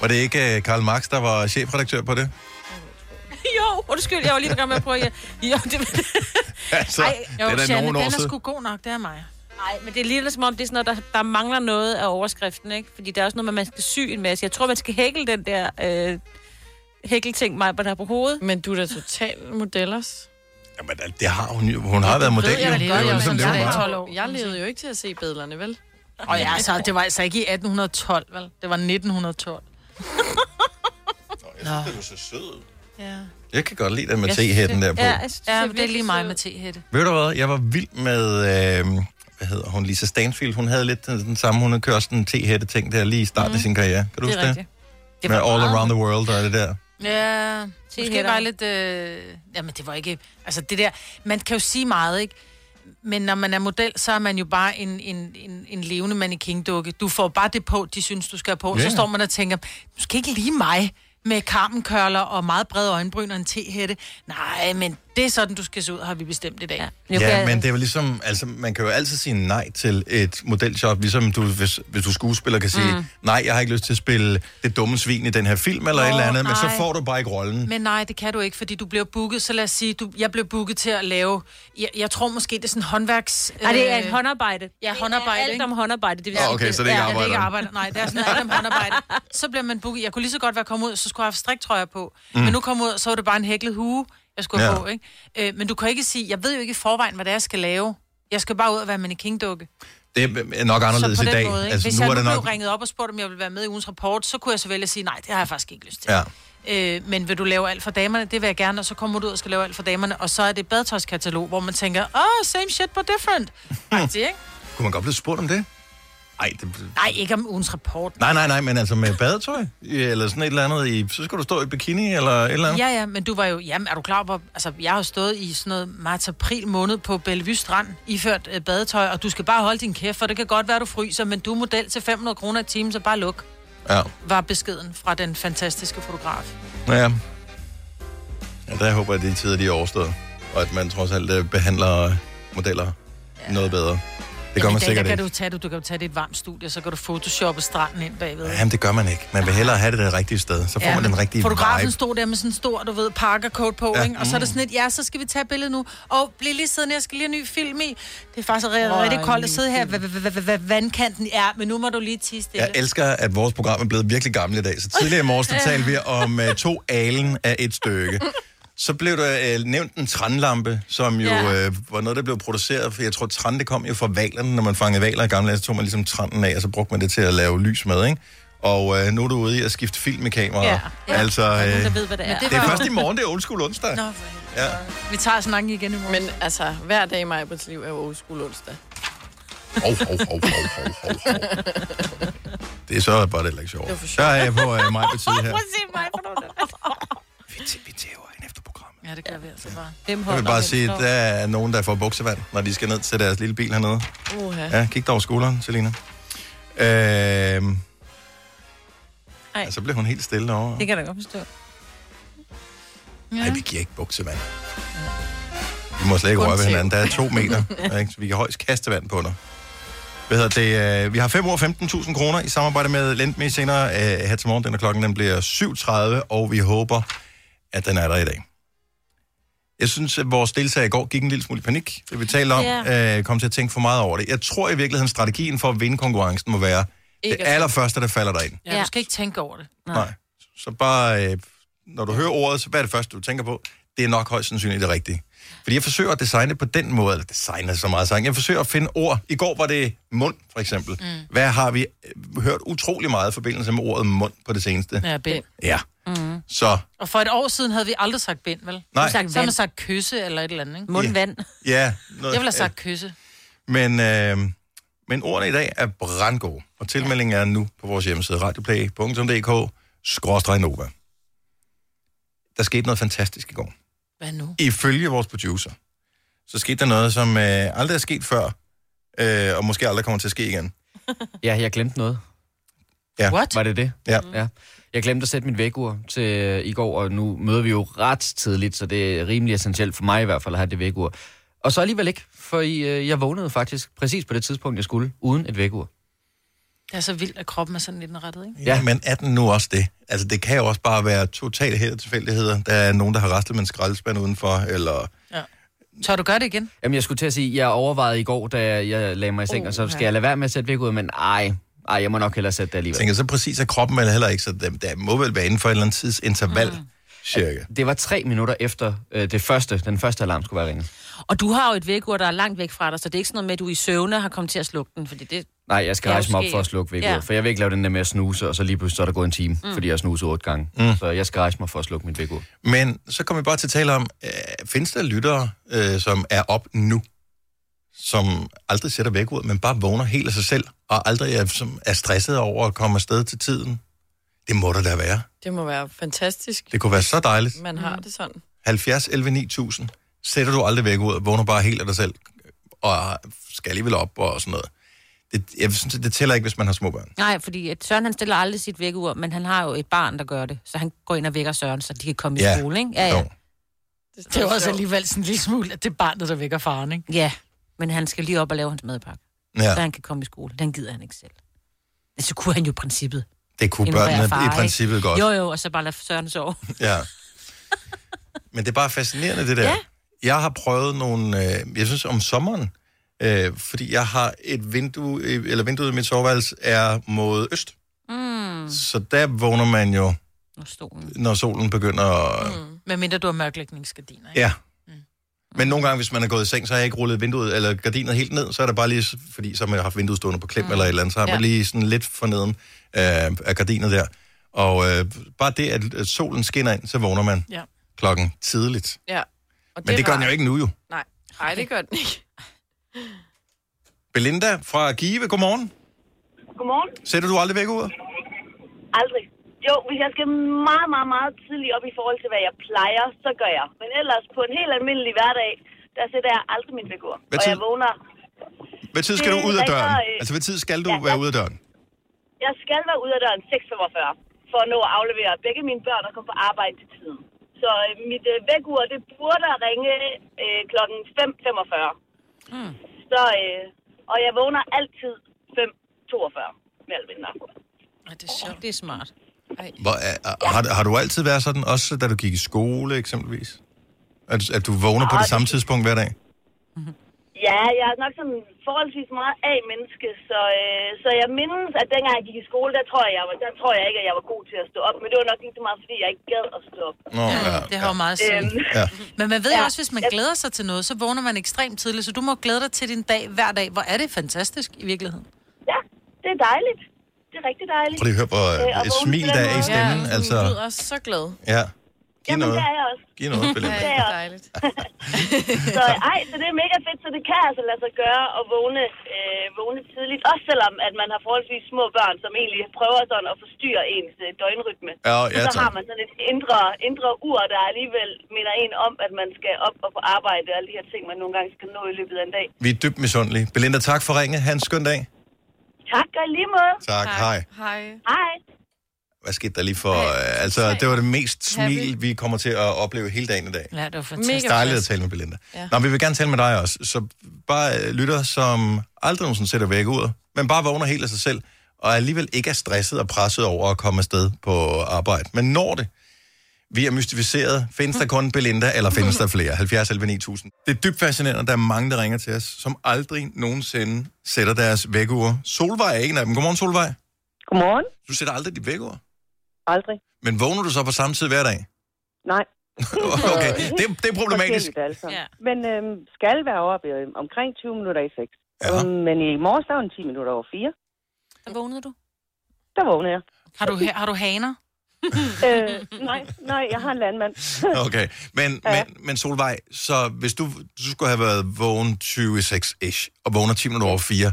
Var det ikke øh, Karl Marx, der var chefredaktør på det? Jo, undskyld, jeg var lige ved gang med at prøve at... Jo, det... Altså, Ej, det er da den nogle år er siden. sgu god nok, det er mig. Nej, men det er lige som om, det er sådan noget, der, der mangler noget af overskriften, ikke? Fordi der er også noget med, at man skal sy en masse. Jeg tror, man skal hækle den der øh, hækkelting, mig, der er på hovedet. Men du er da totalt modellers. Jamen, det har hun jo. Hun har været model. jo. Ved jeg da Det er godt, jo jeg ligesom var det, hun sådan var. set 12 år. Jeg levede jo ikke til at se billederne, vel? Og ja, så det var altså ikke i 1812, vel? Det var 1912. Jeg synes, det var så sød. Ja. Jeg kan godt lide den med tehætten der på. Ja, jeg synes, ja, det er lige mig med tehætte. Ved du hvad, jeg var vild med, øh, hvad hedder hun, Lisa Stanfield. Hun havde lidt den, den samme, hun havde kørt sådan en t-hætte ting der lige i starten Mhm. mm. af sin karriere. Kan Det du huske er det? rigtigt. det? Med All Around the World og det der. Ja, måske hætter. var lidt... Øh... Jamen, det var ikke... Altså, det der... Man kan jo sige meget, ikke? Men når man er model, så er man jo bare en, en, en, en levende mannequin-dukke. Du får bare det på, de synes, du skal have på. Ja. Så står man og tænker, du skal ikke lige mig med karmenkørler og meget brede øjenbryn og en tehætte. Nej, men det er sådan, du skal se ud, har vi bestemt i dag. Ja. Jo, Ja, jeg- men det er jo ligesom, altså man kan jo altid sige nej til et modeljob, ligesom du, hvis, hvis du er skuespiller kan sige, mm. nej, jeg har ikke lyst til at spille det dumme svin i den her film eller Nå, et eller andet, men så nej. får du bare ikke rollen. Men nej, det kan du ikke, fordi du bliver booket. Så lad os sige, du, jeg blev booket til at lave... Jeg, jeg tror måske, det er sådan håndværks... Ej, det er et øh, håndarbejde. ja, Det er håndarbejde, Alt ikke? om håndarbejde. Det vil Åh, sige, okay, så det er ikke Ja, det er ikke arbejder. arbejder. Nej, det er sådan alt om håndarbejde. Så bliver man booket. Jeg kunne lige så godt være kommet ud, så skulle jeg have haft striktrøjer på. Mm. Men nu kom jeg ud, så var det bare en hæklet hue, jeg skulle Ja. ja. på, ikke? Øh, men du kan ikke sige, jeg ved jo ikke i forvejen, hvad det er, jeg skal lave. Jeg skal bare ud og være mannequin-dukke. Det er nok anderledes så i på den dag. måde, ikke? altså, Hvis nu jeg er det nu nok... blev ringet op og spurgt, om jeg ville være med i ugens rapport, så kunne jeg så vælge at sige, nej, det har jeg faktisk ikke lyst til. Ja. Øh, men vil du lave alt for damerne? Det vil jeg gerne, og så kommer du ud og skal lave alt for damerne, og så er det et badetøjskatalog, hvor man tænker, åh, oh, same shit, but different. Faktisk, ikke? Kunne man godt blive spurgt om det? Ej, det... Nej, ikke om ugens rapport. Nej, nej, nej, men altså med badetøj, eller sådan et eller andet, i, så skulle du stå i bikini, eller et eller andet. Ja, ja, men du var jo... Jamen, er du klar på... Altså, jeg har jo stået i sådan noget marts-april måned på Bellevue Strand, iført øh, badetøj, og du skal bare holde din kæft, for det kan godt være, du fryser, men du er model til 500 kroner i timen, så bare luk, Ja. var beskeden fra den fantastiske fotograf. Nå ja. ja der håber jeg, at de tider de er overstået, og at man trods alt øh, behandler øh, modeller ja. noget bedre. Det gør Jamen, man i dag, der sikkert kan du, ikke. tage, du, du kan jo tage det i et varmt studie, og så kan du photoshoppe stranden ind bagved. Jamen, det gør man ikke. Man vil hellere have det det rigtige sted. Så får ja. man den rigtige Fotografen vibe. stod der med sådan en stor, du ved, parkercoat på, Ja. Mm. ja. ikke? Og så er der sådan et, ja, så skal vi tage billedet nu. Og bliv lige siddende, jeg skal lige have en ny film i. Det er faktisk rigtig, rigtig koldt at sidde her. Hvad- hvad- hvad- hvad- hvad- Vandkanten er, men nu må du lige tisse Jeg stille. elsker, at vores program er blevet virkelig gammelt i dag. Så tidligere i morges, der talte vi om uh, to alen af et stykke. Så blev der uh, nævnt en tranlampe, som jo ja. Ja. uh, var noget, der blev produceret. For jeg tror, tran det kom jo fra valerne. Når man fangede valer i gamle dage, så tog man ligesom tranen af, og så brugte man det til at lave lys med, ikke? Og uh, nu er du ude i at skifte film med kameraer. Ja. Ja. Ja. Altså, uh, Der er nogen, der det ved, hvad det er. det er var- først i morgen, det er old school onsdag. Nå, for helvede. Ja. Vi tager snakken igen i morgen. Men altså, hver dag i mig på liv er jo old school onsdag. Hov, hov, hov, hov, hov, hov, hov. Det er så bare det heller ikke sjovt. Det var for sjovt. Der er jeg på uh, mig på tid her. Prøv at se mig for noget. Vi tæver ind efter programmet. ja, det gør vi altså bare. Hvem Jeg vil holder bare hvem sige, står? at der er nogen, der får buksevand, når de skal ned til deres lille bil hernede. Uha. Ja, kig dig over skulderen, Selina. Øhm... Ej. Ej. Så bliver hun helt stille over. Det kan jeg da godt forstå. Nej, vi giver ikke buksevand. Vi må slet ikke røre ved hinanden. Der er to meter. ikke? Så vi kan højst kaste vand på dig. Hvad hedder det? øh, Vi har 5 år 15.000 kroner i samarbejde med Lendme senere øh, her til morgen. Den er klokken den bliver 7.30, og vi håber, at den er der i dag. Jeg synes, at vores deltager i går gik en lille smule i panik. Det vi talte om, yeah. øh, kom til at tænke for meget over det. Jeg tror i virkeligheden, strategien for at vinde konkurrencen må være det Ikke at- allerførste, der falder dig ind. Ja, du skal ikke tænke over det. Nej. Så bare, øh, når du hører ordet, så hvad er det første, du tænker på? Det er nok højst sandsynligt det rigtige. Fordi jeg forsøger at designe på den måde, eller designe så meget sang. Jeg forsøger at finde ord. I går var det mund, for eksempel. Mm. Hvad har vi øh, hørt utrolig meget i forbindelse med ordet mund på det seneste? Ja, bind. Ja. Mm. Så, Mm-hmm. Og for et år siden havde vi aldrig sagt bind, vel? nej. sagt Så har man sagt kysse eller et eller andet, ikke? Mundvand. Ja, noget, Jeg ville have sagt kysse. Men, øh, men ordene i dag er brandgode, og tilmeldingen er nu på vores hjemmeside radioplay.dk skråstreg Nova. Der skete noget fantastisk i går. Hvad nu? ifølge vores producer, så skete der noget, som øh, aldrig er sket før, øh, og måske aldrig kommer til at ske igen. Ja, jeg glemte noget. Ja. What? Var det det? Ja. ja. Jeg glemte at sætte mit vækkeur til øh, i går, og nu møder vi jo ret tidligt, så det er rimelig essentielt for mig i hvert fald at have det vækkeur. Og så alligevel ikke, for I, øh, jeg vågnede faktisk præcis på det tidspunkt, jeg skulle, uden et vækkeur. Det er så vildt, at kroppen er sådan lidt rettet, ikke? Ja. Men er den nu også det? Altså, det kan jo også bare være totalt held og tilfældigheder. Der er nogen, der har rastet med en skraldespand udenfor, eller... Tør du gøre det igen? Jamen, jeg skulle til at sige, jeg overvejede i går, da jeg, jeg lagde mig i seng, oh, og så Uha. skal jeg lade være med at sætte vækkeur, men ej, ej, jeg må nok hellere sætte det Jeg alligevel. tænker, så Altså, præcis er kroppen eller heller ikke, så der, der må vel være inden for et eller andet tidsinterval, mm. cirka. Det var tre minutter efter øh, det første, den første alarm skulle være ringet. Og du har jo et vækkeur, der er langt væk fra dig, så det er ikke sådan noget med, at du i søvne har kommet til at slukke den, fordi det Nej, jeg skal Ja, rejse mig op måske. for at slukke vækkeuret, Ja. ja. for jeg vil ikke lave den der med at snuse, og så lige pludselig så er der gået en time, Mm. mm. fordi jeg snusede otte gange. Mm. Mm. Så jeg skal rejse mig for at slukke mit vækkeur. Men så kommer vi bare til at tale om, øh, findes der lyttere, øh, som er op nu, som aldrig sætter væk ud, men bare vågner helt af sig selv, og aldrig er, som er stresset over at komme afsted til tiden? Det må der da være. Det må være fantastisk, Det kunne være så dejligt. man Mm. har det sådan. 70, 11, 9000. Sætter du aldrig væk ud, vågner bare helt af dig selv, og skal alligevel op og sådan noget. Det, jeg synes, det tæller ikke, hvis man har små børn. Nej, fordi at Søren han stiller aldrig sit vækkeur, men han har jo et barn, der gør det. Så han går ind og vækker Søren, så de kan komme Ja. i skole, ikke? Ja, ja. Jo. Det er jo også alligevel sådan en lille smule, at det er barnet, der vækker faren, ikke? ja. men han skal lige op og lave hans madpakke, ja. så Ja, han kan komme i skole. Den gider han ikke selv. Altså, så kunne han jo i princippet. det kunne ignorere børnene far, i ikke? princippet godt. Jo, jo, og så bare lade Søren sove. Ja. Men det er bare fascinerende, det der. Ja. Jeg har prøvet nogle, øh, jeg synes om sommeren, øh, fordi jeg har et vindue, øh, eller vinduet i mit soveværelse er mod øst. Mm. Så der vågner man jo, Og stolen. når solen begynder at... Mm. Med mindre du har mørklægningsgardiner, ikke? Ja. Men nogle gange, hvis man er gået i seng, så har jeg ikke rullet vinduet eller gardinet helt ned, så er det bare lige, fordi så har man haft vinduet stående på klem mm. eller et eller andet, så har man Ja. lige sådan lidt forneden øh, af gardinet der. Og øh, bare det, at at solen skinner ind, så vågner man Ja. klokken tidligt. Ja. Og Men det, det gør var- den jo ikke nu jo. Nej, Ej, det gør den ikke. Belinda fra Give, godmorgen. Godmorgen. Sætter du aldrig væk ud? Aldrig. Jo, hvis jeg skal meget, meget, meget tidligt op i forhold til, hvad jeg plejer, så gør jeg. Men ellers på en helt almindelig hverdag, der sætter jeg aldrig min vækord. Hvad Og tid? jeg vågner. Hvad tid skal du Det ud af er døren? så, øh, Altså, hvad tid skal du ja, være ja. ude af døren? Jeg skal være ude af døren 6.45 for at nå at aflevere begge mine børn og komme på arbejde til tiden. Så øh, mit øh, vækord, det burde ringe øh, klokken 5.45. Mm. Så, øh, og jeg vågner altid 5.42, mere eller mindre. Ej, det er sjovt. Det er smart. Hvor, er, er- har, har du altid været sådan, også da du gik i skole eksempelvis? At, at du vågner på Ah, det det- samme tidspunkt hver dag? Ja, jeg er nok sådan forholdsvis meget af menneske, så, øh, så jeg mindes, at dengang jeg gik i skole, der tror jeg, jeg, var- der tror jeg ikke, at jeg var god til at stå op. Men det var nok lige så meget, fordi jeg ikke gad at stå op. Nå, ja, Det har jo meget at Øhm, sige. ja. Men man ved jo Ja. også, hvis man Jeg- glæder sig til noget, så vågner man ekstremt tidligt, så du må glæde dig til din dag hver dag. Hvor er det fantastisk i virkeligheden. ja, det er dejligt. Det er rigtig dejligt. Prøv lige at høre, hvor Øh, og øh, et vågne smil på den der er i måde. stemmen. ja, Altså, du lyder også så glad. ja. Giv Jamen, noget. det er jeg også. Giv noget, Ja, Belinda. det er dejligt. Så ej, så det er mega fedt, så det kan altså lade sig gøre at vågne, øh, vågne tidligt. Også selvom, at man har forholdsvis små børn, som egentlig prøver sådan at forstyrre ens øh, døgnrytme. Ja, ja, så har tak. man sådan et indre, indre ur, der alligevel minder en om, at man skal op og på arbejde og alle de her ting, man nogle gange skal nå i løbet af en dag. Vi er dybt misundelige. Belinda, tak for ringet. Ha' en skøn dag. Tak og i lige måde. Tak, hej. Hej. Hej. Hvad skete der lige for... Hej. Øh, altså, det var det mest Happy. smil, vi kommer til at opleve hele dagen i dag. Ja, det var fantastisk. Mega dejligt at fedt. tale med Belinda. Ja. Ja. Nå, vi vil gerne tale med dig også. Så bare øh, lytter, som aldrig nogensinde sætter væk ud, men bare vågner helt af sig selv, og alligevel ikke er stresset og presset over at komme afsted på arbejde. Men når det, vi er mystificeret. Findes der kun Belinda, eller findes der flere? 70 11 9000. Det er dybt fascinerende, der er mange, der ringer til os, som aldrig nogensinde sætter deres vækkeure. Solvej er en af dem. Godmorgen, Solvej. Godmorgen. Du sætter aldrig dit vækkeure. Aldrig. Men vågner du så på samme tid hver dag? Nej. Okay, det, det er problematisk. altså. Ja. Men øh, skal være oppe øhm, omkring 20 minutter i 6. Ja. men i morges, der var 10 minutter over 4. Så vågnede du? Der vågner jeg. Har du, har du haner? øh, nej, nej, jeg har en landmand. Okay, men, ja. Ja. men, men Solvej, så hvis du, du skulle have været vågen 26-ish, og vågner 10 minutter over 4,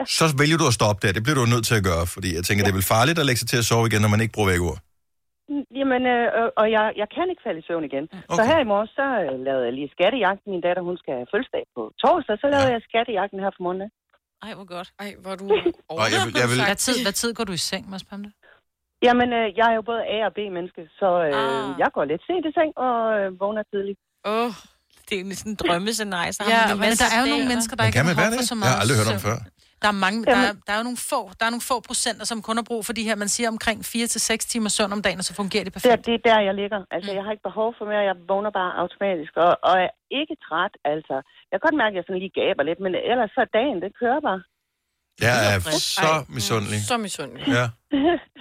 ja. så vælger du at stoppe der. Det bliver du jo nødt til at gøre, fordi jeg tænker, ja. det er vel farligt at lægge sig til at sove igen, når man ikke bruger vækord. Jamen, øh, og- og jeg, jeg kan ikke falde i søvn igen. Okay. Så Okay. her i morges, så øh, lavede jeg lige skattejagten. Min datter, hun skal have fødselsdag på torsdag, så lavede Ja. ja. jeg skattejagten her for morgenen. Ej, hvor godt. Ej, hvor er du Og jeg vil, jeg vil, Hvad tid, hvad tid går du i seng, Mads Pamle? Jamen, øh, jeg er jo både A- og B-menneske, så øh, Ah. ah. jeg går lidt sent i seng og øh, vågner tidligt. Åh, oh, Det er jo sådan en drømmescenarie. Så har Ja, man en Men masse der er jo dage, nogle eller? mennesker, der men ikke kan har man være behov for det? så Jeg meget. har aldrig hørt om søvn. før. Der er, mange, der, er, Jamen. der er jo nogle få, der er nogle få procenter, som kun har brug for de her, man siger omkring 4-6 timer søvn om dagen, og så fungerer det Det, perfekt. er- det er der, jeg ligger. Altså, Mm. jeg har ikke behov for mere. Jeg vågner bare automatisk og, og er ikke træt, altså. Jeg kan godt mærke, at jeg sådan lige gaber lidt, men ellers så er dagen, det kører bare. Jeg er frisk. så mm, misundelig. Så misundelig. Ja.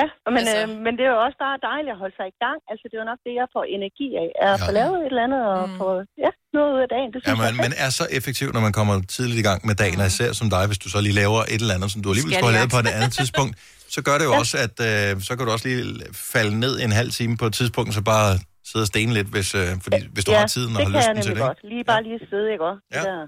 Ja, men, altså... øh, men det er jo også bare dejligt at holde sig i gang. Altså, det er jo nok det, jeg får energi af. At ja. få lavet et eller andet og mm. få ja, noget ud af dagen. Det Ja, synes ja, man, man er så effektiv, når man kommer tidligt i gang med dagen, og især som dig, hvis du så lige laver et eller andet, som du alligevel skulle have lavet på et Skattejagt. andet tidspunkt, så gør det jo også, at øh, så kan du også lige falde ned en halv time på et tidspunkt, så bare sidde og stene lidt, hvis, øh, fordi, hvis du ja, har tiden og har det kan jeg lysten til nemlig det. godt. Lige bare lige sidde, ikke også? Ja. Der.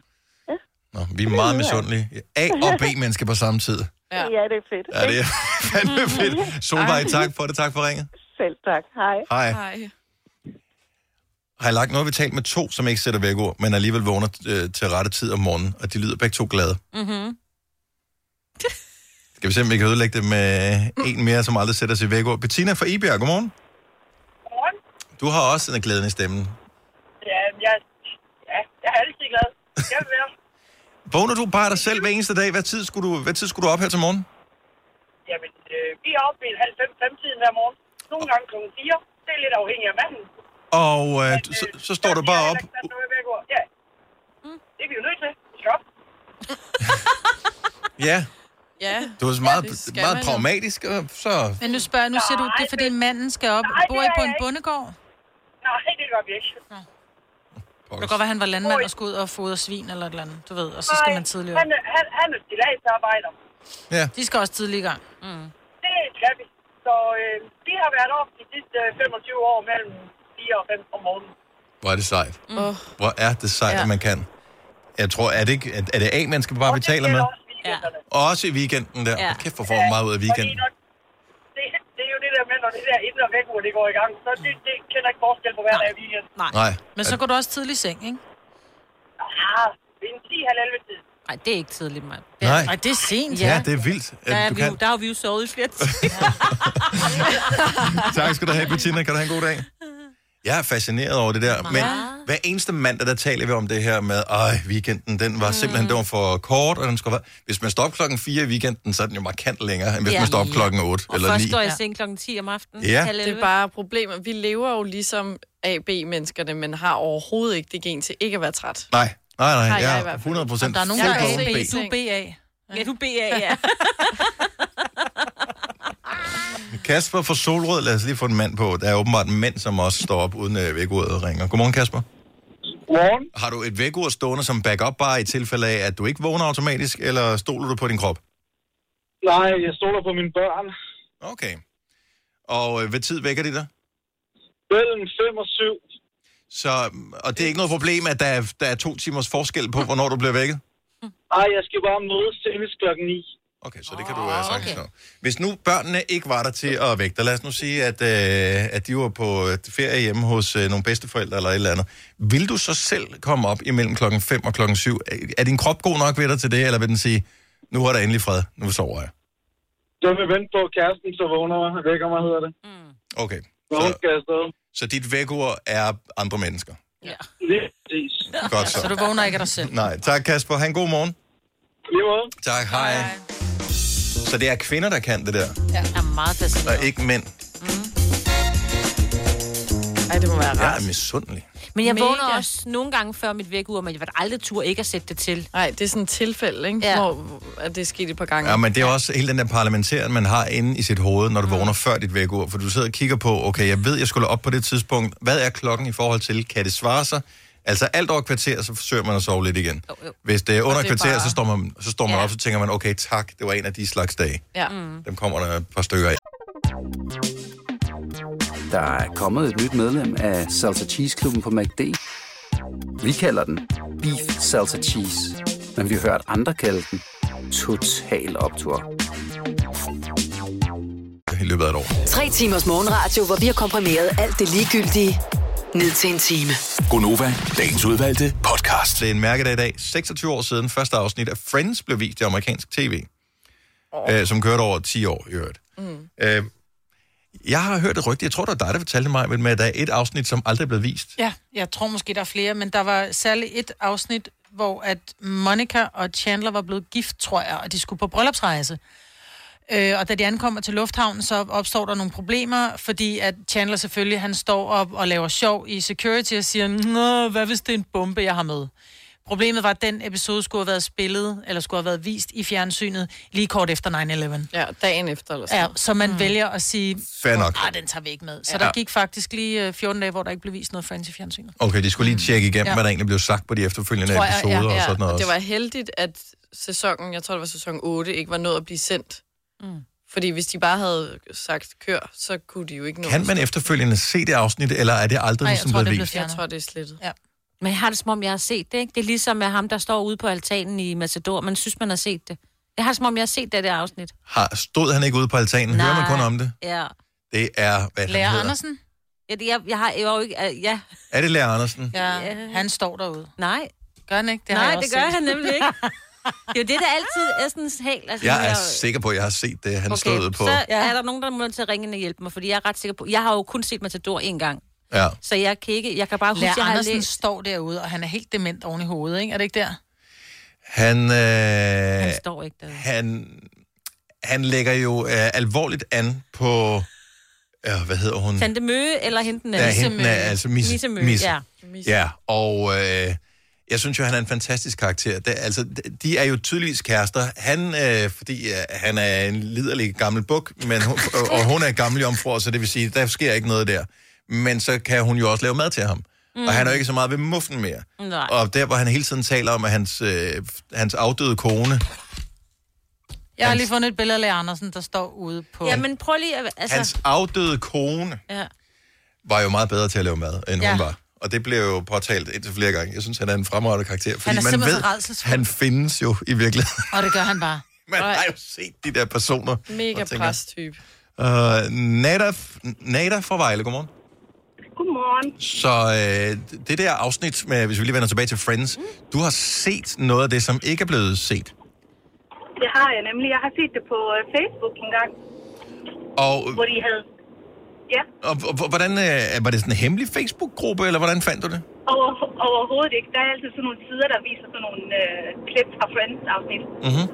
Nå, vi er meget misundelige. A og B-mennesker på samme tid. Ja. ja, det er fedt. Ja, det er fandme fedt. Solvej, tak for det. Tak for ringet. Selv tak. Hej. Hej. Har jeg lagt noget, vi talt med to, som ikke sætter vækord, men alligevel vågner øh, til rette tid om morgenen, og de lyder begge to glade. Mm-hmm. Skal vi se, om vi kan ødelægge det med en mere, som aldrig sætter sig væk over. Bettina fra Ibjerg, godmorgen. Godmorgen. Du har også en glæden i stemmen. Ja, jeg, ja, jeg er altid glad. Jeg vil være. Vågner du bare dig selv hver eneste dag? Hvad tid skulle du, hvad tid skulle du op her til morgen? Jamen, øh, vi er oppe i halv fem, fem tiden hver morgen. Nogle gange kl. 4. Det er lidt afhængigt af manden. Og øh, så, så, står du bare op. Der er noget væk over. Ja. Det er vi jo nødt til. Vi skal op. Ja, Ja. du er så det meget, skal man meget jo. pragmatisk, og så... Men nu spørger jeg, nu siger du, det er fordi manden skal op. Nej, Bor det I er på jeg en ikke. bondegård? Nej, det gør vi ikke. Det kan godt være, han var landmand og skulle ud og fodre svin eller et eller andet, du ved, og så skal man tidligere Han, er- han, han er stilagsarbejder. Ja. De skal også tidligt i gang. Mm. Det kan vi. Så øh, vi har været op de sidste øh, 25 år mellem 4 og 5 om morgenen. Hvor er det sejt. Mm. Oh. Hvor er det sejt, Ja. ja. at man kan. Jeg tror, er det, ikke, er, er det A, man skal bare betale med? Ja. Og også i weekenden der. Ja. Kæft, hvor får man meget ud af weekenden. Fordi når, det, det er jo det der med, når det der indre vækord, det går i gang, så det, det kender ikke forskel på hver dag i weekenden. Nej. Nej. Men så går du også tidligt i seng, ikke? Ah, ved en 10-11 tid. Nej, det er ikke tidligt, mand. Nej. Ej, det er sent, Ja, ja det er vildt, Der, er at du vi, jo- kan. der har vi jo sovet i flere timer. Tak skal du have, Bettina. Kan du have en god dag? Jeg er fascineret over det der, men hver eneste mandag, der taler vi om det her med, ej, weekenden, den var simpelthen, den var for kort, og den skulle være... Hvis man stopper klokken 4 i weekenden, så er den jo markant længere, end hvis Ja. man stopper klokken 8 og eller først 9. går jeg i seng klokken 10 om aftenen. Ja. halv Det er 11. bare problemet. Vi lever jo ligesom AB-menneskerne, men har overhovedet ikke det gen til ikke at være træt. Nej, nej, Har nej, jeg i jeg er hvert fald. 100 procent Og der er nogen, der er på A, B. du er BA. Ja, du er BA, ja. Kasper fra Solrød, lad os lige få en mand på. Der er åbenbart mænd, som også står op uden øh, vækordet og ringer. Godmorgen, Kasper. Godmorgen. Har du et vækord stående som backup bare i tilfælde af, at du ikke vågner automatisk, eller stoler du på din krop? Nej, jeg stoler på mine børn. Okay. Og øh, hvad tid vækker de dig? Mellem 5 og 7. Så, og det er ikke noget problem, at der er, der er to timers forskel på, hvornår du bliver vækket? Ej, jeg skal bare mødes senest klokken 9. Okay, så det kan du Ah, uh, sagtens okay. Hvis nu børnene ikke var der til at vække dig, lad os nu sige, at, øh, at de var på øh, ferie hjemme hos øh, nogle bedsteforældre eller et eller andet. Vil du så selv komme op imellem klokken 5 og klokken 7? Er, er din krop god nok ved dig til det, eller vil den sige, nu er der endelig fred, nu sover jeg? Jeg vil vente på at kæresten, så vågner mig. Vækker mig, hedder det. Okay. Når hun skal afsted. Så dit vækord er andre mennesker? Ja. Lige præcis. Godt så. Så du vågner ikke af dig selv. Nej, tak Kasper. Ha' en god morgen. Lige måde. Tak, hej. hej. Så det er kvinder, der kan det der, Ja. Jeg er meget fascineret. og ikke mænd. Ej, det må være Jeg er misundelig. Men jeg Mega. vågner også nogle gange før mit vækkeur, men jeg var aldrig tur ikke at sætte det til. Nej, det er sådan et tilfælde, ikke? Ja. Hvor at det er sket et par gange. Ja, men det er også hele den der parlamenteren, man har inde i sit hoved, når du vågner før dit vækord. For du sidder og kigger på, okay, jeg ved, jeg skulle op på det tidspunkt. Hvad er klokken i forhold til? Kan det svare sig? Altså alt over et kvarter, så forsøger man at sove lidt igen. Hvis det er under Og et det er kvarter, bare- så står man, så står man op, så tænker man, okay, tak, det var en af de slags dage. Ja. Mm. Dem kommer der et par stykker af. Der er kommet et nyt medlem af Salsa Cheese Klubben på MACD. Vi kalder den Beef Salsa Cheese, men vi har hørt andre kalde den Total Optor. I løbet af et år. Tre timers morgenradio, hvor vi har komprimeret alt det ligegyldige ned til en time. Gonova, dagens udvalgte podcast. Det er en mærkedag i dag. 26 år siden første afsnit af Friends blev vist i amerikansk tv, oh. øh, som kørte over 10 år i øvrigt. Mm. Øh, jeg har hørt et rygte, jeg tror, det var dig, der fortalte mig, men med, at der er et afsnit, som aldrig er blevet vist. Ja, jeg tror måske, der er flere, men der var særligt et afsnit, hvor at Monica og Chandler var blevet gift, tror jeg, og de skulle på bryllupsrejse. Øh, og da de ankommer til lufthavnen, så opstår der nogle problemer, fordi at Chandler selvfølgelig, han står op og laver sjov i security og siger, Nå, hvad hvis det er en bombe, jeg har med? Problemet var, at den episode skulle have været spillet, eller skulle have været vist i fjernsynet, lige kort efter 9-11. Ja, dagen efter eller sådan Ja, så man mm. vælger at sige, Fair nok. nej, den tager vi ikke med. Så Ja. ja. der gik faktisk lige øh, 14 dage, hvor der ikke blev vist noget Friends i fjernsynet. Okay, de skulle lige tjekke igennem, Ja. ja. hvad der egentlig blev sagt på de efterfølgende Tror episoder ja, ja. og sådan noget. Og det også. var heldigt, at sæsonen, jeg tror det var sæson 8, ikke var nået at blive sendt. Mm. Fordi hvis de bare havde sagt kør, så kunne de jo ikke nå Kan at- man efterfølgende se det afsnit, eller er det aldrig Nej, jeg ligesom tror, blevet det blev vist? Jeg tror, det er slettet. Ja. Men jeg har det som om, jeg har set det, ikke? Det er ligesom med ham, der står ude på altanen i Matador. Man synes, man har set det. Jeg har det som om, jeg har set det der afsnit. Har, stod han ikke ude på altanen? Nej. Hører man kun om det? Ja. Det er, hvad Lærer han hedder. Andersen. Ja, det, jeg, jeg har jeg var jo ikke... øh, Ja. Er det Lærer Andersen? Ja, han står derude. Nej. Gør han ikke? Det har Nej, jeg også det gør set. han nemlig ikke. Det er jo det, der altid er sådan helt... Altså, Jeg er jo- sikker på, at jeg har set det, han okay, stod ude på. så er der nogen, der må til at ringe ind og hjælpe mig, fordi jeg er ret sikker på... Jeg har jo kun set Matador én gang, Ja. så jeg kan ikke... Jeg kan bare huske, Lær jeg har Andersen læst... står derude, og han er helt dement oven i hovedet, ikke? Er det ikke der? Han, øh, Han står ikke derude. han, han lægger jo øh, alvorligt an på, øh, hvad hedder hun? Tante Møge eller hende den Ja, hende den er- altså Misse- Misse Møge, Misse. ja. Ja, og øh, jeg synes jo, han er en fantastisk karakter. Det, altså, de er jo tydeligvis kærester. Han, øh, fordi øh, han er en liderlig gammel buk, men hun, og, og hun er en gammel jomfru, så det vil sige, der sker ikke noget der. Men så kan hun jo også lave mad til ham. Mm. Mm. Og han er jo ikke så meget ved muffen mere. Nej. Og der, hvor han hele tiden taler om, at hans, øh, hans afdøde kone, Jeg har lige fundet et billede af Lær Andersen, der står ude på... Ja, men prøv lige at... Altså, altså... hans afdøde kone, ja. var jo meget bedre til at lave mad, end ja. Ja. hun var. Og det blev jo påtalt indtil flere gange. Jeg synes, han er en fremragende karakter, fordi Han er man simpelthen ved, så rædselsfuld. han findes jo i virkeligheden. Og det gør han bare. Man har jo set de der personer. Mega og tænker, præsttype. Øh, Nada, Nada fra Vejle, godmorgen. Godmorgen. Så øh, det der afsnit, med, hvis vi lige vender tilbage til Friends, mm. du har set noget af det, som ikke er blevet set. Det har jeg nemlig. Jeg har set det på øh, Facebook en gang, Og, hvor de havde... Ja, og, og hvordan, øh, var det sådan en hemmelig Facebook-gruppe, eller hvordan fandt du det? over, overhovedet ikke. Der er altid sådan nogle sider, der viser sådan nogle øh, klip fra Friends-afsnit. Mm-hmm.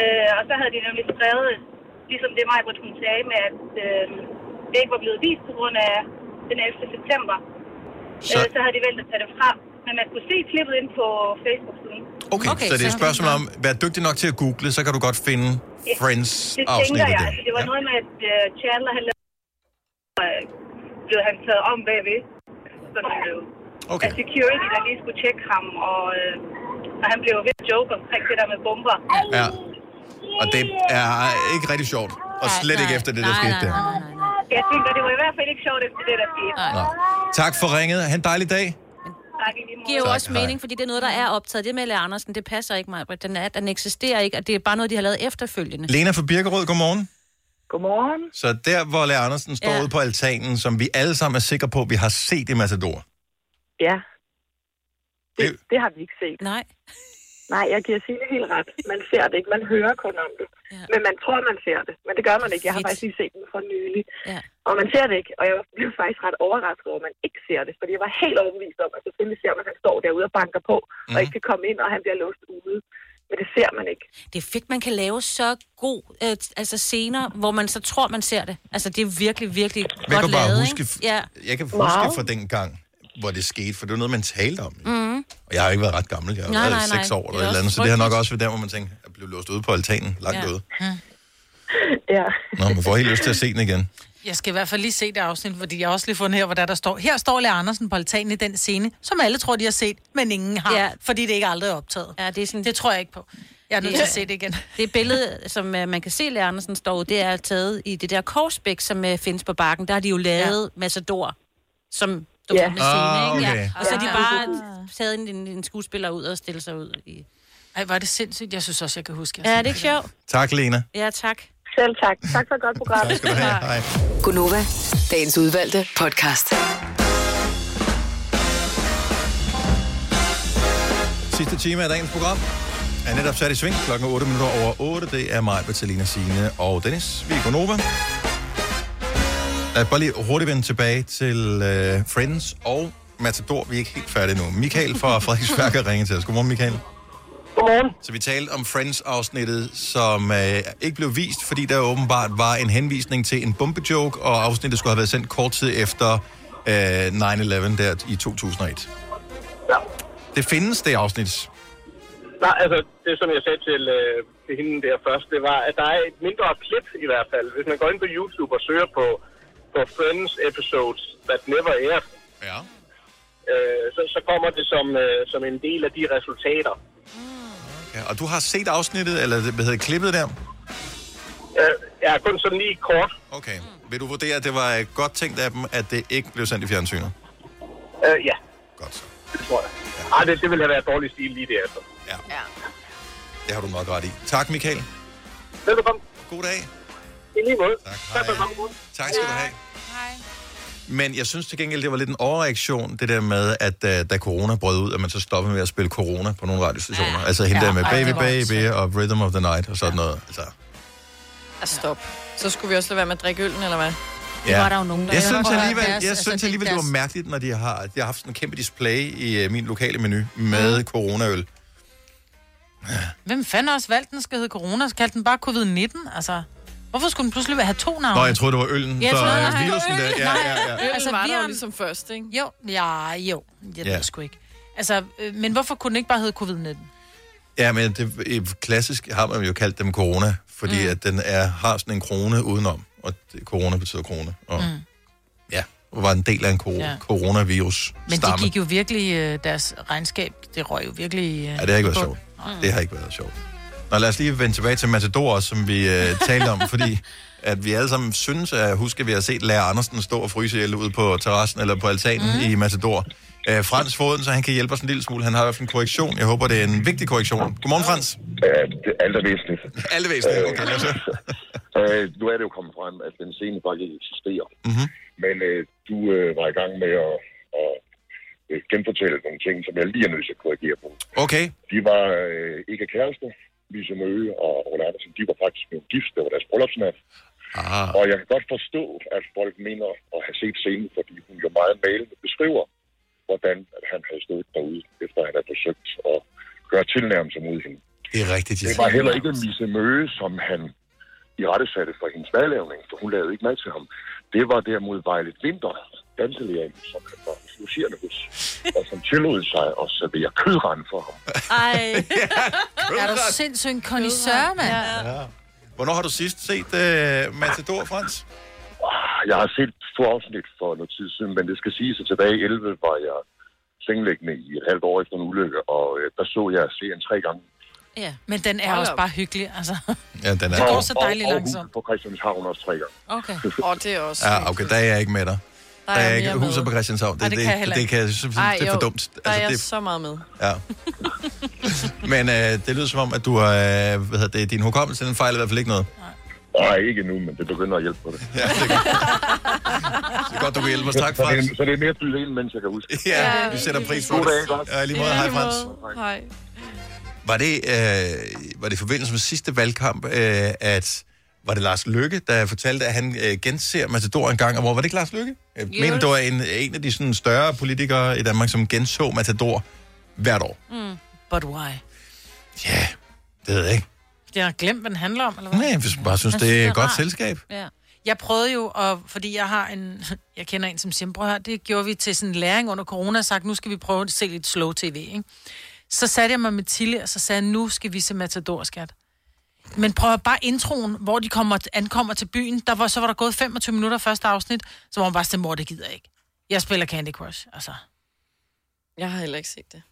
Øh, og så havde de nemlig skrevet, ligesom det mig, hun sagde med, at øh, det ikke var blevet vist på grund af den 11. september. Så, øh, så havde de valgt at tage det frem. Men man kunne se klippet ind på Facebook-siden. Okay, okay så det er et spørgsmål om, vær dygtig nok til at google, så kan du godt finde det tænker Friends-afsnittet jeg. der. Altså, det var ja. noget med, at øh, Chandler han lavede, øh, blev han taget om bagved. Så han blev okay. af security, der lige skulle tjekke ham, og, øh, og han blev ved at joke omkring det der med bomber. Ja. Og det er ikke rigtig sjovt. Og slet nej, ikke efter det, der nej, skete der. Jeg tænker, det var i hvert fald ikke sjovt efter det, der skete. Nej. Tak for ringet. Ha' en dejlig dag. Tak i lige måde. giver jo Tak, også hej. mening, fordi det er noget, der er optaget. Det med Lea Andersen, det passer ikke mig. Den, er, den eksisterer ikke, og det er bare noget, de har lavet efterfølgende. Lena fra Birkerød, godmorgen. Godmorgen. Så der, hvor Lea Andersen står Ja. ja. ude på altanen, som vi alle sammen er sikre på, vi har set i Matador. Ja. Det, Det- det har vi ikke set. Nej. Nej, jeg giver Signe helt ret. Man ser det ikke, man hører kun om det. Ja. Men man tror, man ser det. Men det gør man ikke. Jeg har faktisk lige set den for nylig. Ja. Og man ser det ikke, og jeg blev faktisk ret overrasket over, at man ikke ser det. Fordi jeg var helt overbevist om, at selvfølgelig ser man, at han står derude og banker på, mm. og ikke kan komme ind, og han bliver låst ude. Men det ser man ikke. Det er fedt, man kan lave så god øh, altså scener, hvor man så tror, man ser det. Altså, det er virkelig, virkelig Jeg godt kan bare lavet, huske, ikke? Ja. jeg kan huske fra den gang, hvor det skete, for det var noget, man talte om. Mm. Og jeg har jo ikke været ret gammel, jeg har Nej, været nej, nej. seks år eller Det er et eller andet, også så det har nok også været der, hvor man tænkte, jeg blev låst ude på altanen, langt ja. ude. Hm. Ja. Nå, man får helt lyst til at se den igen. Jeg skal i hvert fald lige se det afsnit, fordi jeg har også lige fundet her, hvor der, der står, her står Lær Andersen på altanen i den scene, som alle tror, de har set, men ingen har, ja. fordi det ikke aldrig er optaget. Ja, det, er sådan, Ah. det tror jeg ikke på. Jeg er nødt til at se det igen. Det billede, som øh, man kan se, Lea Andersen står ud, det er taget i det der korsbæk, som øh, findes på bakken. Der har de jo lavet ja. Massador, som du Ja. yeah. med scene, Ah, ikke? okay. Ja. Og så er de Ja. bare taget en, en, en skuespiller ud og stillet sig ud. I... Ej, var det sindssygt. Jeg synes også, jeg kan huske. Ja, er det ikke sjovt? Tak, Lena. Ja, tak. Selv tak. Tak for et godt program. Tak skal du have. Hej. Gunova, dagens udvalgte podcast. Sidste time af dagens program er netop sat i sving. Klokken er 8 minutter over 8. Det er mig, Bertalina Signe og Dennis. Vi er på Nova. Lad os bare lige hurtigt vende tilbage til uh, Friends og Matador. Vi er ikke helt færdige nu. Michael fra Frederiksværk har ringet til os. Godmorgen, Michael. Godmorgen. Så vi talte om Friends-afsnittet, som øh, ikke blev vist, fordi der åbenbart var en henvisning til en bombejoke, og afsnittet skulle have været sendt kort tid efter øh, 9-11 der i 2001. Det findes, det afsnit. Nej, altså, det som jeg sagde til, øh, til hende der først, det var, at der er et mindre klip i hvert fald. Hvis man går ind på YouTube og søger på, på Friends episodes that never aired, ja. øh, så, så kommer det som, øh, som en del af de resultater. Ja, og du har set afsnittet, eller det- hvad hedder det, klippet der? Øh, ja, kun sådan lige kort. Okay. Vil du vurdere, at det var øh, godt tænkt af dem, at det ikke blev sendt i fjernsynet? Øh, ja. Godt. Det tror jeg. Ej, det, det ville have været dårlig stil lige altså. derefter. Ja. ja. Det har du nok ret i. Tak, Michael. Velkommen. God dag. I lige måde. Tak, hej. Tak skal du have. Men jeg synes til gengæld, det var lidt en overreaktion, det der med, at uh, da corona brød ud, at man så stoppede med at spille corona på nogle radiostationer. Ja. Altså hende Ja, ja, der med ej, Baby det var Baby og Rhythm of the Night og sådan ja. noget. Altså, Altså, stop. Så skulle vi også lade være med at drikke øllen, eller hvad? ja. var der jo nogen, der- jeg Eller synes hvor er alligevel, deres- jeg altså, det synes er alligevel det var deres- mærkeligt, når de har, de har haft sådan en kæmpe display i uh, min lokale menu med coronaøl. Hvem fanden har også valgt, den skal hedde corona, så kaldte den bare covid-19? Altså, hvorfor skulle den pludselig have to navne? Nå, jeg troede, det var øllen. Ja, jeg så, troede øh, også, det var virusen der. øllen. Ja, ja, ja. Nej. Altså, Altså, var vi der jo har- ligesom først, ikke? Jo, ja, jo. Jeg Ja. ved sgu ikke. Altså, øh, men hvorfor kunne den ikke bare hedde covid-19? Ja, men det, i- klassisk har man jo kaldt dem corona, fordi mm. at den er, har sådan en krone udenom, og det, corona betyder krone, og mm. ja, og var en del af en kor- Ja. ja. coronavirus Men stamme. de gik jo virkelig, øh, deres regnskab, det røg jo virkelig... øh, Ja, det har ikke været sjovt. Det har ikke været sjovt. Nå, lad os lige vende tilbage til Matador, også, som vi øh, talte om, fordi at vi alle sammen synes, at huske, at vi har set Lærer Andersen stå og fryse ihjel ude på terrassen eller på altanen Mhm. mm. i Matador. Øh, Frans Foden, så han kan hjælpe os en lille smule. Han har i hvert fald en korrektion. Jeg håber, det er en vigtig korrektion. Godmorgen, Frans. Ja, det er alt er væsentligt. Alt er væsentligt, okay. altså, øh, nu er det jo kommet frem, at den scene faktisk eksisterer. Mm-hmm. Men øh, du øh, var i gang med at, at øh, genfortælle nogle ting, som jeg lige er nødt til at korrigere på. Okay. De var øh, ikke kærester, Lise Møge og Ole Andersen. De var faktisk blevet gift. Det var deres bryllupsnat. Ah. Og jeg kan godt forstå, at folk mener at have set scenen, fordi hun jo meget malende beskriver, hvordan at han havde stået derude, efter han havde forsøgt at gøre tilnærmelser mod hende. Det er rigtigt, Det var heller ikke Misse Møge, som han i rette satte for hendes madlavning, for hun lavede ikke mad til ham. Det var derimod Vejlet Vinter, danselægen, som han var logerende hos, og som tillod sig at servere kødrende for ham. Ej. er du sindssygt en kondisør, mand? Ja. Ja. Hvornår har du sidst set øh, Matador, Frans? Ah, Jeg har set to afsnit for noget tid siden, men det skal siges, at tilbage i 11 var jeg sengeliggende i et halvt år efter en ulykke, og øh, der så jeg serien tre gange. ja. Men den er Hold også op. bare hyggelig, altså. Ja, den Det går så dejligt og, og, langsomt. Og huset på Christianshavn også tre gange. Okay. Åh, det er også... Ja, okay, der er jeg ikke med dig. Der er, jeg jeg ikke mere med. huset på Christianshavn. Ej, Det, det, jeg det, heller det, ikke. kan jeg synes, Ej, det er for jo. dumt. Altså, Der er jeg det, så meget med. ja. Men øh, det lyder som om, at du har, øh, hvad hedder det, din hukommelse den fejler i hvert fald ikke noget. Nej, ikke nu, men det begynder at hjælpe på det. Ja, det er godt. Det er godt, du kan hjælpe os. Tak, Så det, Frans. er- så det er mere at fylde ind, mens jeg kan huske. Ja, vi sætter pris på God det. dag, godt. Ja, i lige måde. Hej, Frans. Hej. Var det, øh, var det i forbindelse med sidste valgkamp, øh, at var det Lars Lykke, der fortalte, at han øh, genser Matador en gang om året? Var det ikke Lars Lykke? Jeg Jo. mener, det var en, en af de sådan, større politikere i Danmark, som genså Matador hvert år. Mm. But why? Det ved jeg ikke. Jeg har glemt, hvad den handler om, eller hvad? Nej, jeg synes- bare synes, Jeg det er den et godt rar. selskab. Ja. Jeg prøvede jo, og, fordi jeg har en, jeg kender en som siger, prøv at høre, det gjorde vi til sådan en læring under corona, og sagt, nu skal vi prøve at se lidt slow tv, ikke? Så satte jeg mig med Tilly, og så sagde jeg, nu skal vi se Matador, skat. Men prøv at høre, bare introen, hvor de kommer, ankommer til byen, der var, så var der gået 25 minutter første afsnit, så var hun bare sådan, mor, det gider jeg ikke. Jeg spiller Candy Crush, altså. Jeg har heller ikke set det.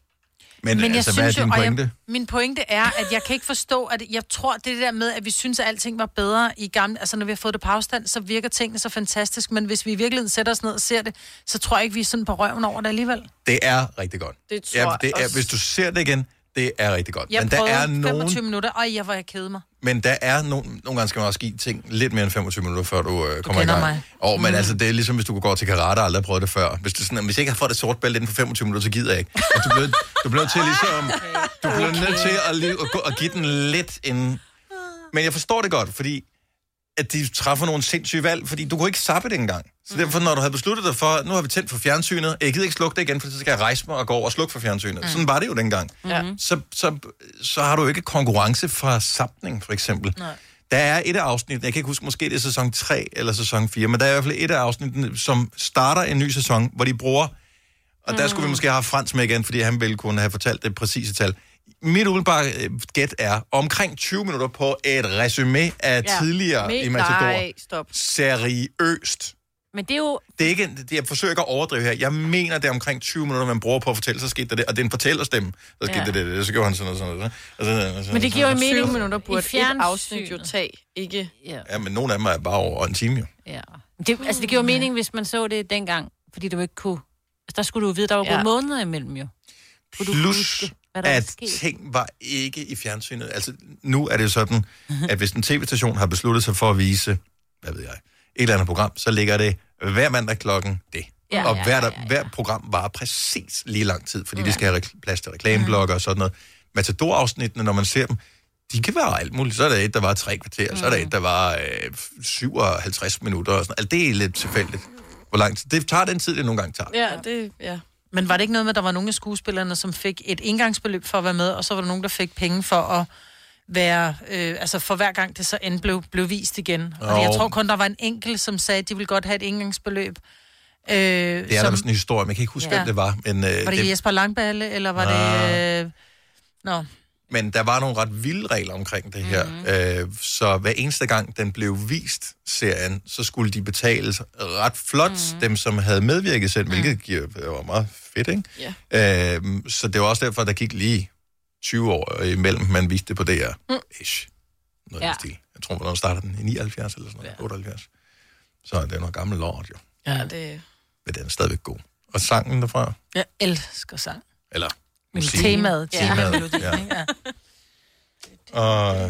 Men, Men altså, hvad er din og pointe? Jeg, min pointe er, at jeg kan ikke forstå, at jeg tror, det, det der med, at vi synes, at alting var bedre i gamle... Altså, når vi har fået det på afstand, så virker tingene så fantastisk, men hvis vi i virkeligheden sætter os ned og ser det, så tror jeg ikke, vi er sådan på røven over det alligevel. Det er rigtig godt. Det tror jeg det er, også. Hvis du ser det igen, det er rigtig godt. Jeg men der prøvede er nogen, 25 minutter, og jeg var jeg kede mig. Men der er nogle, nogle gange skal man også give ting lidt mere end 25 minutter, før du øh, kommer i kender gang. mig. Og, men Mm. mm. altså, det er ligesom, hvis du går til karate og aldrig har prøvet det før. Hvis, det er sådan, at hvis jeg ikke har fået det sort bælte inden for 25 minutter, så gider jeg ikke. Men du bliver, du bliver nødt til Ah, ligesom, du bliver nødt til at, lige, at, gå, at give den lidt en... Men jeg forstår det godt, fordi at de træffer nogle sindssyge valg, fordi du kunne ikke sappe det engang. Mm. Så derfor, når du havde besluttet dig for, nu har vi tændt for fjernsynet, jeg gider ikke slukke det igen, for så skal jeg rejse mig og gå over og slukke for fjernsynet. Mm. Mm. Sådan var det jo dengang. Ja. Så, så, så har du jo ikke konkurrence fra sapning, for eksempel. Nej. Der er et af afsnittene, jeg kan ikke huske, måske det er sæson 3 eller sæson 4, men der er i hvert fald et af afsnittene, som starter en ny sæson, hvor de bruger, Og der skulle vi måske have haft Frans med igen, fordi han ville kunne have fortalt det præcise tal. Mit umiddelbare øh, gæt er omkring 20 minutter på et resume af ja. tidligere i Matador. Nej, stop. Seriøst. Men det er jo... Det er ikke, det, jeg forsøger ikke at overdrive her. Jeg mener, det er omkring 20 minutter, man bruger på at fortælle, så skete der det, og det er en fortællerstemme. Så skete Ja. ja. det, det, det, så gjorde han sådan noget, sådan noget. Og sådan, noget, og sådan, Men det giver jo mening. 20 mening. minutter I burde et fjernsynet. afsnit jo tage, ikke? Ja. Ja, men nogle af dem er bare over en time, jo. Ja. Det, altså, det giver jo mening, hvis man så det dengang, fordi du ikke kunne... Altså, der skulle du jo vide, der var Ja. ja. måneder imellem jo. Kunne du Plus, hvad der var at sket. ting var ikke i fjernsynet. Altså, nu er det jo sådan, at hvis en tv-station har besluttet sig for at vise, hvad ved jeg, et eller andet program, så ligger det hver mandag klokken det. Ja, og ja, hver, ja, ja, hver program var præcis lige lang tid, fordi ja. de skal have rekl- plads til reklameblokker og sådan noget. Matador-afsnittene, når man ser dem, de kan være alt muligt. Så er der et, der var tre kvarter, så er der et, der var øh, 57 minutter og sådan noget. Altså, det er lidt tilfældigt, hvor lang tid. Det tager den tid, det nogle gange tager. Ja, det... Ja. Men var det ikke noget med, at der var nogle af skuespillerne, som fik et indgangsbeløb for at være med, og så var der nogen, der fik penge for at være, øh, altså for hver gang det så end blev, blev vist igen. Og Jo. jeg tror kun, der var en enkelt, som sagde, at de ville godt have et indgangsbeløb. Øh, Det er der sådan en historie, men jeg kan ikke huske, ja. Ja. hvem det var. Men, øh, Var det, Jesper Langballe, eller var Ah. det... Øh, nå, Men der var nogle ret vilde regler omkring det her. Mhm. Mm-hmm. Øh, så hver eneste gang, den blev vist, serien, så skulle de betales ret flot, Mhm. mm-hmm. dem som havde medvirket selv, hvilket giver, var meget fedt, ikke? Ja. Øh, så det var også derfor, der gik lige 20 år øh, imellem, man viste det på DR. Mm. Ish. Noget ja. Ja. i den stil. Jeg tror, hvornår starter den? I 79 eller sådan noget? Ja. 78? Så det er noget gammelt lort, jo. Ja, det... Men den er stadigvæk god. Og sangen derfra? jeg elsker sang. Eller Men musikken. temaet, ja. Temaet, Melodien, ja. ikke? ja. Og...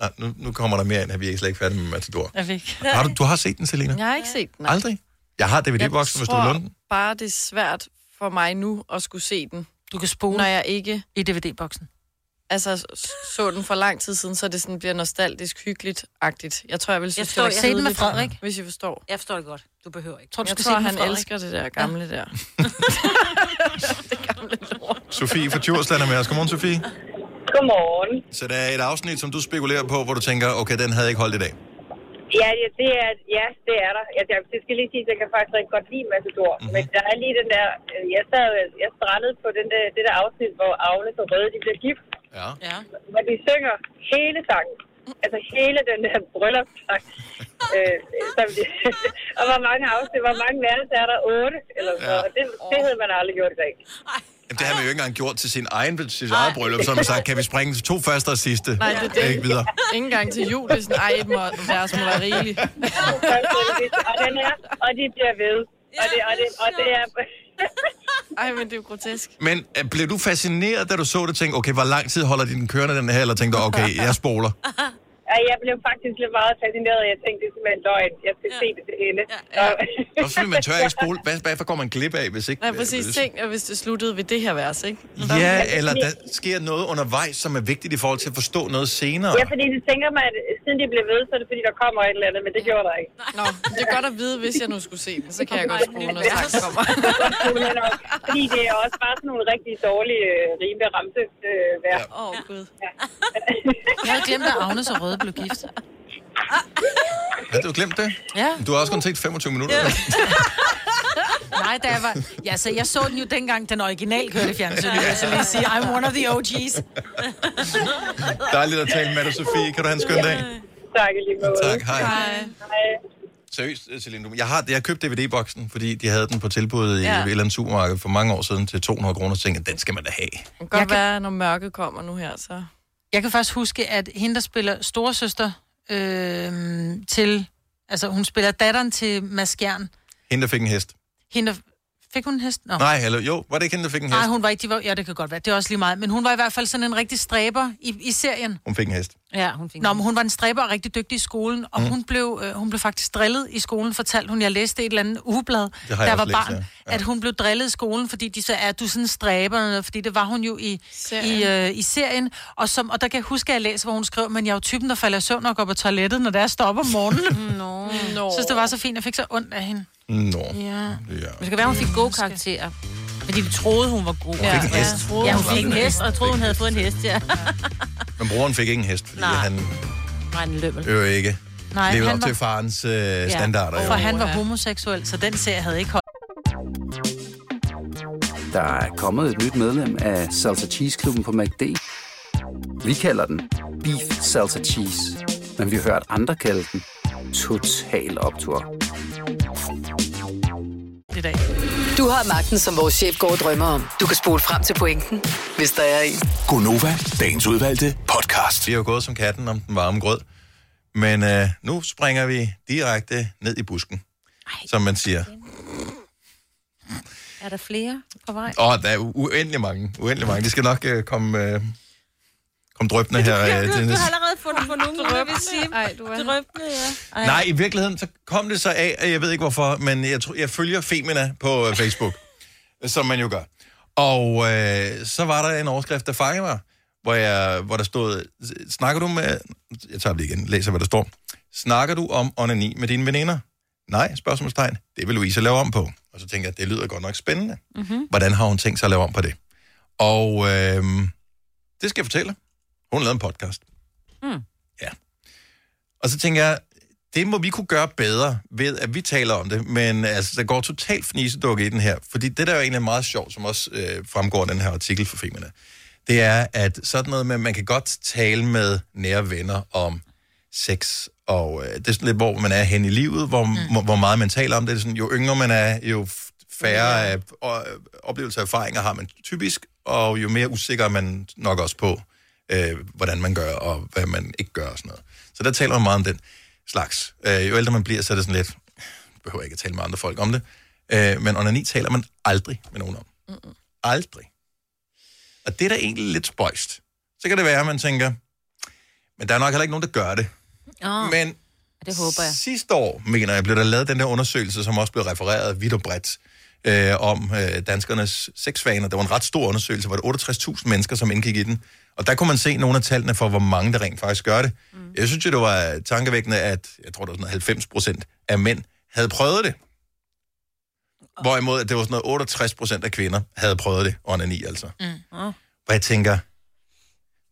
Ah, nu, nu kommer der mere ind her. Vi er slet ikke færdige med Matador. Jeg fik. Har du, du har set den, Selina? Jeg har ikke set den. Aldrig? Jeg har DVD-boksen, hvis du vil låne den. bare, det er svært for mig nu at skulle se den. Du kan spole Når jeg ikke... I DVD-boksen. Altså, s- så den for lang tid siden, så det sådan bliver nostalgisk hyggeligt-agtigt. Jeg tror, jeg vil Jeg synes, forstår, var jeg se den med kedeligt, Frederik. Hvis I forstår. Jeg forstår det godt. Du behøver ikke. Tror, du jeg tror, han elsker det der gamle ja. der. Sofie fra Djursland er med os. Godmorgen, Sofie. Godmorgen. Så der er et afsnit, som du spekulerer på, hvor du tænker, okay, den havde jeg ikke holdt i dag. Ja, ja, det er, ja, det er der. Jeg, jeg, det skal lige sige, at jeg kan faktisk rigtig godt lide Matador. Mm-hmm. Men der er lige den der... øh, Jeg, sad, jeg strandede på den der, det der afsnit, hvor Agne og Røde de bliver gift. Ja. ja. Hvor de synger hele sangen. Altså hele den der bryllupssang. øh, som de, og hvor mange afsnit, hvor mange værelser er der? Otte? Eller så. Ja. Ja. Det, det havde man aldrig gjort i dag. Jamen, det har man jo ikke engang gjort til sin egen, sit eget bryllup, så har man sagt, kan vi springe til to første og sidste? Nej, det er det. Ikke videre. Ikke engang til jul, det er sådan, ej, et må, deres må være rigeligt. og, den er, og de bliver ved. Og det, og det, og det er... Ej, men det er jo grotesk. Men øh, blev du fascineret, da du så det, tænkte, okay, hvor lang tid holder de den kørende, den her, eller tænkte du, okay, jeg spoler? Ja, jeg blev faktisk lidt meget fascineret. Jeg tænkte, det er simpelthen løgn. Jeg skal ja. se det til ende. Ja, ja. Også fordi man tør ikke spole. Hvad, hvad går man glip af, hvis ikke... Nej, præcis. Tænk, at hvis det sluttede ved det her vers, ikke? Ja, eller der sker noget undervejs, som er vigtigt i forhold til at forstå noget senere. Ja, fordi det tænker man, at siden de blev ved, så er det fordi, der kommer et eller andet, men det gjorde der ikke. Nå, det er godt at vide, hvis jeg nu skulle se den, så kan jeg godt spole, når tak kommer. fordi det er også bare sådan nogle rigtig dårlige øh, rime ramte øh, vejr. Åh, oh, gud. Ja. Jeg havde glemt, at Agnes og Røde blev gift. Har du glemt det? Ja. Du har også kun set 25 minutter. Ja. Nej, da jeg var... Ja, så jeg så den jo dengang, den original kørte i fjernsynet. altså, vil Jeg så lige sige, I'm one of the OG's. Dejligt at tale med dig, Sofie. Kan du have en skøn dag? Tak i lige måde. Tak, hej. Hej. Seriøst, Celine, du- jeg har jeg købte DVD-boksen, fordi de havde den på tilbud i Ja. ja. et eller andet supermarked for mange år siden til 200 kroner, så tænkte jeg, den skal man da have. Det kan godt være, når mørket kommer nu her, så... Jeg kan faktisk huske, at hende, der spiller storesøster øh, til... Altså, hun spiller datteren til Mads Gjern. Hende, der fik en hest. Hende, der- fik hun en hest? Nå. Oh. Nej, eller jo, var det ikke hende, der fik en hest? Nej, hun var ikke... De var, ja, det kan godt være. Det er også lige meget. Men hun var i hvert fald sådan en rigtig stræber i, i serien. Hun fik en hest. Ja, hun fik Nå, men hun var en stræber og rigtig dygtig i skolen, og Mm. mm. hun, blev, øh, hun blev faktisk drillet i skolen, fortalte hun. Jeg læste et eller andet ugeblad, Det har der jeg var også læst, barn, ja. ja. at hun blev drillet i skolen, fordi de sagde, at du er sådan en stræber, eller noget, fordi det var hun jo i serien. I, øh, i serien. Og, som, og der kan jeg huske, at jeg læser, hvor hun skrev, men jeg er jo typen, der falder i søvn og går på toilettet, når det er jeg står op om morgenen. Nå. Jeg synes, det var så fint, jeg fik så ondt af hende. Nå. Ja. Ja. Men det kan være, hun fik gode karakterer. Fordi de troede, hun var god. Hun fik en hest. Ja, hun fik en hest, og jeg troede, hun havde fået en hest, ja. Men broren fik ikke en hest, fordi Nej. Nej. han Var en løbel. jo ikke Nej, levede han op var- til farens øh, standarder. For Jo. han var homoseksuel, så den serie havde ikke holdt. der er kommet et nyt medlem af Salsa Cheese Klubben på MACD. Vi kalder den Beef Salsa Cheese, men vi har hørt andre kalde den Total Optor. i dag. Du har magten, som vores chef går og drømmer om. Du kan spole frem til pointen, hvis der er en. Gonova, dagens udvalgte podcast. Vi er jo gået som katten om den varme grød. Men øh, nu springer vi direkte ned i busken, Ej, som man siger. Er der flere på vej? Åh, oh, der er u- uendelig mange. Uendelig mange. De skal nok øh, komme, øh, komme drøbende her, øh, Du, du Dennis. har allerede fundet på nogen, jeg vil sige. Ej, du er... Drøbende, ja. Ej. Nej, i virkeligheden, så kom det så af, og jeg ved ikke hvorfor, men jeg, tror, jeg følger Femina på øh, Facebook, som man jo gør. Og øh, så var der en overskrift, der fangede mig, hvor, jeg, hvor der stod, snakker du med, jeg tager det igen, læser hvad der står, snakker du om onani med dine veninder? Nej, spørgsmålstegn, det vil Louise lave om på. Og så tænker jeg, det lyder godt nok spændende. Mhm. Mhm. Mm-hmm. Hvordan har hun tænkt sig at lave om på det? Og øh, det skal jeg fortælle. Hun lavede en podcast. Mm. Ja. Og så tænker jeg, det må vi kunne gøre bedre ved, at vi taler om det, men altså, der går totalt fnisedukke i den her, fordi det, der er jo egentlig meget sjovt, som også øh, fremgår af den her artikel for Femina, det er, at sådan noget med, at man kan godt tale med nære venner om sex, og øh, det er sådan lidt, hvor man er hen i livet, hvor, mm. hvor meget man taler om det. det er sådan, jo yngre man er, jo f- færre af, og, øh, oplevelser og erfaringer har man typisk, og jo mere usikker er man nok også på, øh, hvordan man gør, og hvad man ikke gør og sådan noget. Så der taler man meget om den slags. Øh, jo ældre man bliver, så er det sådan lidt, "Jeg behøver ikke at tale med andre folk om det, øh, men onani taler man aldrig med nogen om. Mm-mm. Aldrig. Og det er da egentlig lidt spøjst. Så kan det være, at man tænker, men der er nok heller ikke nogen, der gør det. Oh. Men det håber jeg. Sidste år, mener jeg, blev der lavet den der undersøgelse, som også blev refereret vidt og bredt, øh, om øh, danskernes sexvaner. Det var en ret stor undersøgelse, hvor der 68.000 mennesker, som indgik i den. Og der kunne man se nogle af tallene for, hvor mange der rent faktisk gør det. Mm. Jeg synes jo, det var tankevækkende, at jeg tror, det var sådan noget 90 procent af mænd havde prøvet det. Hvorimod, at det var sådan noget 68 procent af kvinder havde prøvet det, onani altså. Mm. Oh. Hvor jeg tænker,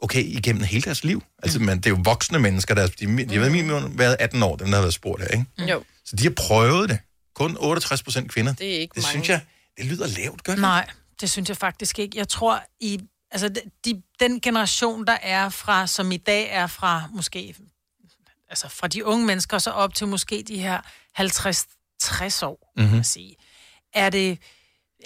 okay, igennem hele deres liv. Altså, Mm. man, det er jo voksne mennesker, der, de, de, de har minimum været 18 år, dem der har været spurgt her, ikke? Mm. Jo, Så de har prøvet det. Kun 68 procent kvinder. Det, det er ikke det mange. synes jeg, det lyder lavt, gør det? Nej, det synes jeg faktisk ikke. Jeg tror, i altså, de, den generation, der er fra, som i dag er fra måske, altså fra de unge mennesker, så op til måske de her 50-60 år, mm-hmm. kan Mhm. man sige, er det,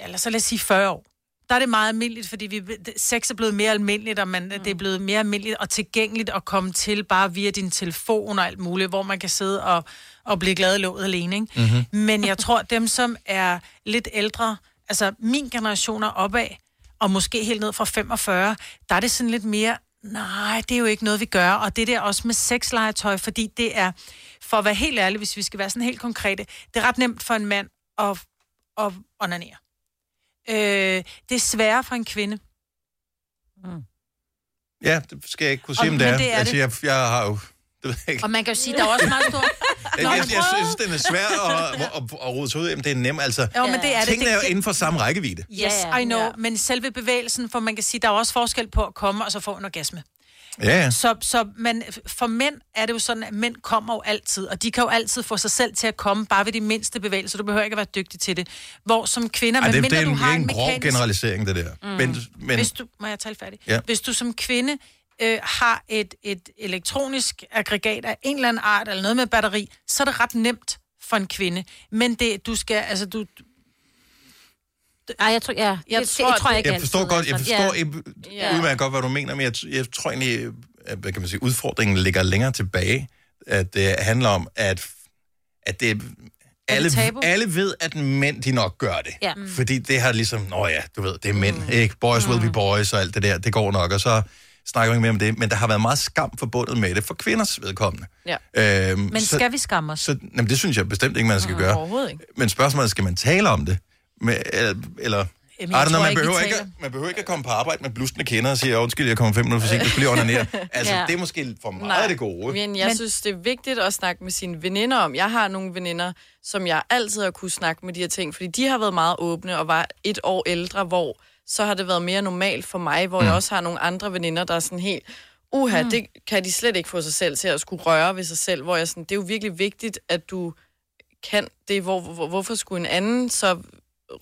eller så lad os sige 40 år, der er det meget almindeligt, fordi vi, sex er blevet mere almindeligt, og man, mm. det er blevet mere almindeligt og tilgængeligt at komme til bare via din telefon og alt muligt, hvor man kan sidde og, og blive glad i låget alene. Ikke? Mm-hmm. Mhm. Men jeg tror, dem, som er lidt ældre, altså min generation er opad, og måske helt ned fra 45, der er det sådan lidt mere, nej, det er jo ikke noget, vi gør. Og det der også med sexlegetøj, fordi det er, for at være helt ærlig, hvis vi skal være sådan helt konkrete, det er ret nemt for en mand at, at onanere. Øh, det er sværere for en kvinde. Ja, det skal jeg ikke kunne sige, Og- om det men er. det er altså, det. Jeg, jeg har jo... Det ved jeg ikke. Og man kan jo sige, der er også meget stor... Jeg, jeg, jeg, jeg synes, den er svær at, at, at, at rode sig ud af, men det er nemt. Altså, Jo, men det er det. tingene Det- er jo inden for samme rækkevidde. Yes, I know. Ja. Men selve bevægelsen, for man kan sige, der er også forskel på at komme og så få en orgasme. Ja, ja. Så, så man, for mænd er det jo sådan, at mænd kommer jo altid, og de kan jo altid få sig selv til at komme, bare ved de mindste bevægelser. Du behøver ikke at være dygtig til det. Hvor som kvinder, Ej, det, det medmindre er du en, har en grov mekanisk- generalisering, det der. Mm. Men, men Hvis du, må jeg tale færdig? Ja. Hvis du som kvinde øh, har et, et elektronisk aggregat af en eller anden art, eller noget med batteri, så er det ret nemt for en kvinde. Men det, du skal, altså du... Ej, jeg tror, ja. Jeg, jeg, tror, jeg ikke jeg forstår altid, godt, jeg altså. forstår Ja. ja. udmærket godt, hvad du mener, men jeg, t- jeg tror egentlig, at, hvad kan man sige, udfordringen ligger længere tilbage, at det handler om, at, at det, alle, tabu? alle ved, at mænd de nok gør det. Ja. Mm. Fordi det har ligesom, nå ja, du ved, det er mænd, mm. ikke? Boys mm. will be boys og alt det der, det går nok, og så snakker vi ikke mere om det, men der har været meget skam forbundet med det for kvinders vedkommende. Ja. Øhm, Men så- skal vi skamme os? Så, jamen, det synes jeg bestemt ikke, man skal gøre. Overhovedet ikke. Men spørgsmålet er, skal man tale om det? Med, eller, eller Jamen, Jamen, jeg I don't know, tror man, ikke, vi behøver taler. ikke, at- man behøver ikke at komme på arbejde med blustende kender og sige, undskyld, jeg kommer fem minutter for sent, jeg skulle lige onanere. Altså, Ja. ja. det er måske for meget Nej. det gode. Men jeg men... synes, det er vigtigt at snakke med sine veninder om. Jeg har nogle veninder, som jeg altid har kunne snakke med de her ting, fordi de har været meget åbne og var et år ældre, hvor så har det været mere normalt for mig, hvor mm. jeg også har nogle andre veninder, der er sådan helt, uha, Mm. mm. det kan de slet ikke få sig selv til at skulle røre ved sig selv, hvor jeg sådan, det er jo virkelig vigtigt, at du kan det. Hvor, hvor, hvorfor skulle en anden så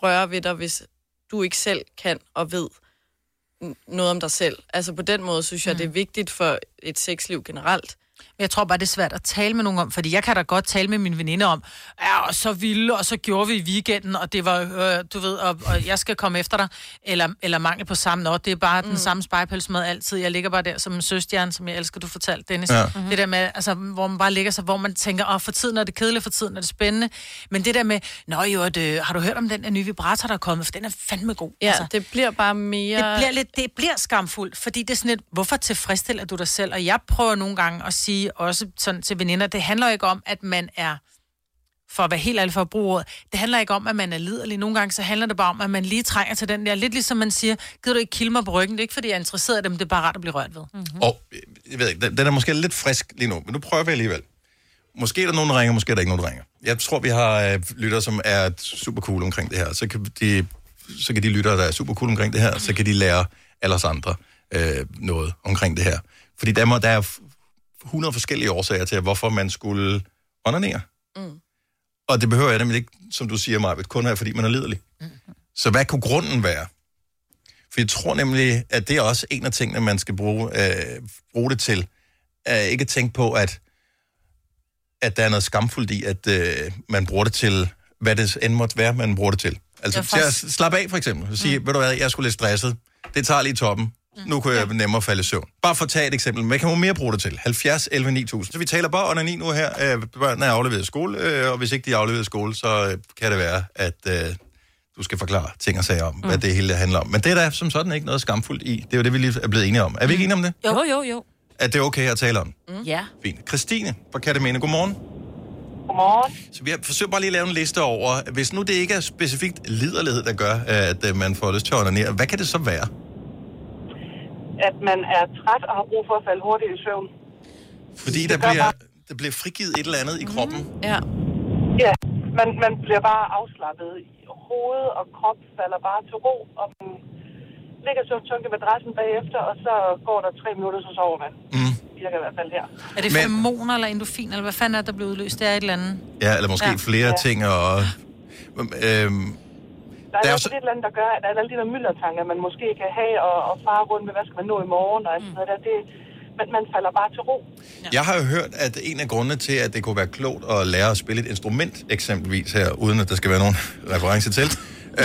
røre ved dig, hvis du ikke selv kan og ved n- noget om dig selv. Altså på den måde synes jeg, mm. det er vigtigt for et sexliv generelt. Men jeg tror bare, det er svært at tale med nogen om, fordi jeg kan da godt tale med min veninde om, ja, og så vilde, og så gjorde vi i weekenden, og det var, øh, du ved, og, og, jeg skal komme efter dig, eller, eller mangel på samme noget. Det er bare mm. den samme spejpels med altid. Jeg ligger bare der som en søstjerne, som jeg elsker, du fortalte, Dennis. Ja. Ja. Mm-hmm. Det der med, altså, hvor man bare ligger sig, hvor man tænker, åh, for tiden er det kedeligt, for tiden er det spændende. Men det der med, nå jo, at, øh, har du hørt om den her nye vibrator, der er kommet, for den er fandme god. Ja, altså, det bliver bare mere... Det bliver, lidt, det bliver skamfuldt, fordi det er sådan lidt, hvorfor tilfredsstiller du dig selv? Og jeg prøver nogle gange at sige også sådan til veninder, det handler jo ikke om, at man er, for at være helt ærlig for at bruge ordet, det handler ikke om, at man er liderlig. Nogle gange så handler det bare om, at man lige trænger til den der, lidt ligesom man siger, gider du ikke kilde mig på ryggen? Det er ikke, fordi jeg er interesseret i dem, det er bare rart at blive rørt ved. Mm-hmm. Og øh, jeg ved ikke, den- den er måske lidt frisk lige nu, men nu prøver vi alligevel. Måske er der nogen, der ringer, måske er der ikke nogen, der ringer. Jeg tror, vi har øh, lyttere, som er super cool omkring det her. Så kan de, så kan de lyttere, der er super cool omkring det her, så kan de lære alle os andre øh, noget omkring det her. Fordi der, må, der er f- 100 forskellige årsager til, hvorfor man skulle onanere. Mm. Og det behøver jeg nemlig ikke, som du siger, Marvitt, kun være, fordi man er liderlig. Mm. Så hvad kunne grunden være? For jeg tror nemlig, at det er også en af tingene, man skal bruge, øh, bruge det til. Øh, ikke at tænke på, at, at der er noget skamfuldt i, at øh, man bruger det til, hvad det end måtte være, man bruger det til. Altså Ja, til at faktisk- slappe af, for eksempel. Og sige, mm. ved du hvad, jeg skulle lidt stresset. Det tager lige toppen. Mm. Nu kunne jeg nemmere falde i søvn. Bare for at tage et eksempel. Hvad kan man mere bruge det til? 70, 11, 9000. Så vi taler bare under 9 nu her. Øh, børnene er afleveret i skole, øh, og hvis ikke de er afleveret i skole, så øh, kan det være, at øh, du skal forklare ting og sager om, mm. hvad det hele handler om. Men det er der som sådan ikke noget skamfuldt i. Det er jo det, vi lige er blevet enige om. Er vi ikke enige om det? Jo, jo, jo. At det er okay at tale om? Mm. Ja. Fint. Christine fra Katamene, godmorgen. Godmorgen. Så vi har- forsøger bare lige at lave en liste over, hvis nu det ikke er specifikt liderlighed, der gør, at øh, man får lyst til at onanere, hvad kan det så være? At man er træt og har brug for at falde hurtigt i søvn. Fordi der bliver, der bliver frigivet et eller andet i Mm-hmm. kroppen. Ja. Ja, man, man bliver bare afslappet i hoved og krop falder bare til ro, og man ligger så tungt i madrassen bagefter, og så går der tre minutter, så sover man. Mm. Virker i hvert fald her. Er det Men- feromoner eller endorfin, eller hvad fanden er der blevet udløst? Det er et eller andet. Ja, eller måske Ja. ja. flere Ja. ja. ting. Og, øhm, Der er, Der er der er så- også et eller andet, der gør, at alle de der myldertanker, man måske kan have, og, og fare rundt med, hvad skal man nå i morgen, og alt Mm. sådan noget der, det, man, man falder bare til ro. Jeg har jo hørt, at en af grundene til, at det kunne være klogt at lære at spille et instrument, eksempelvis her, uden at der skal være nogen reference til, øh,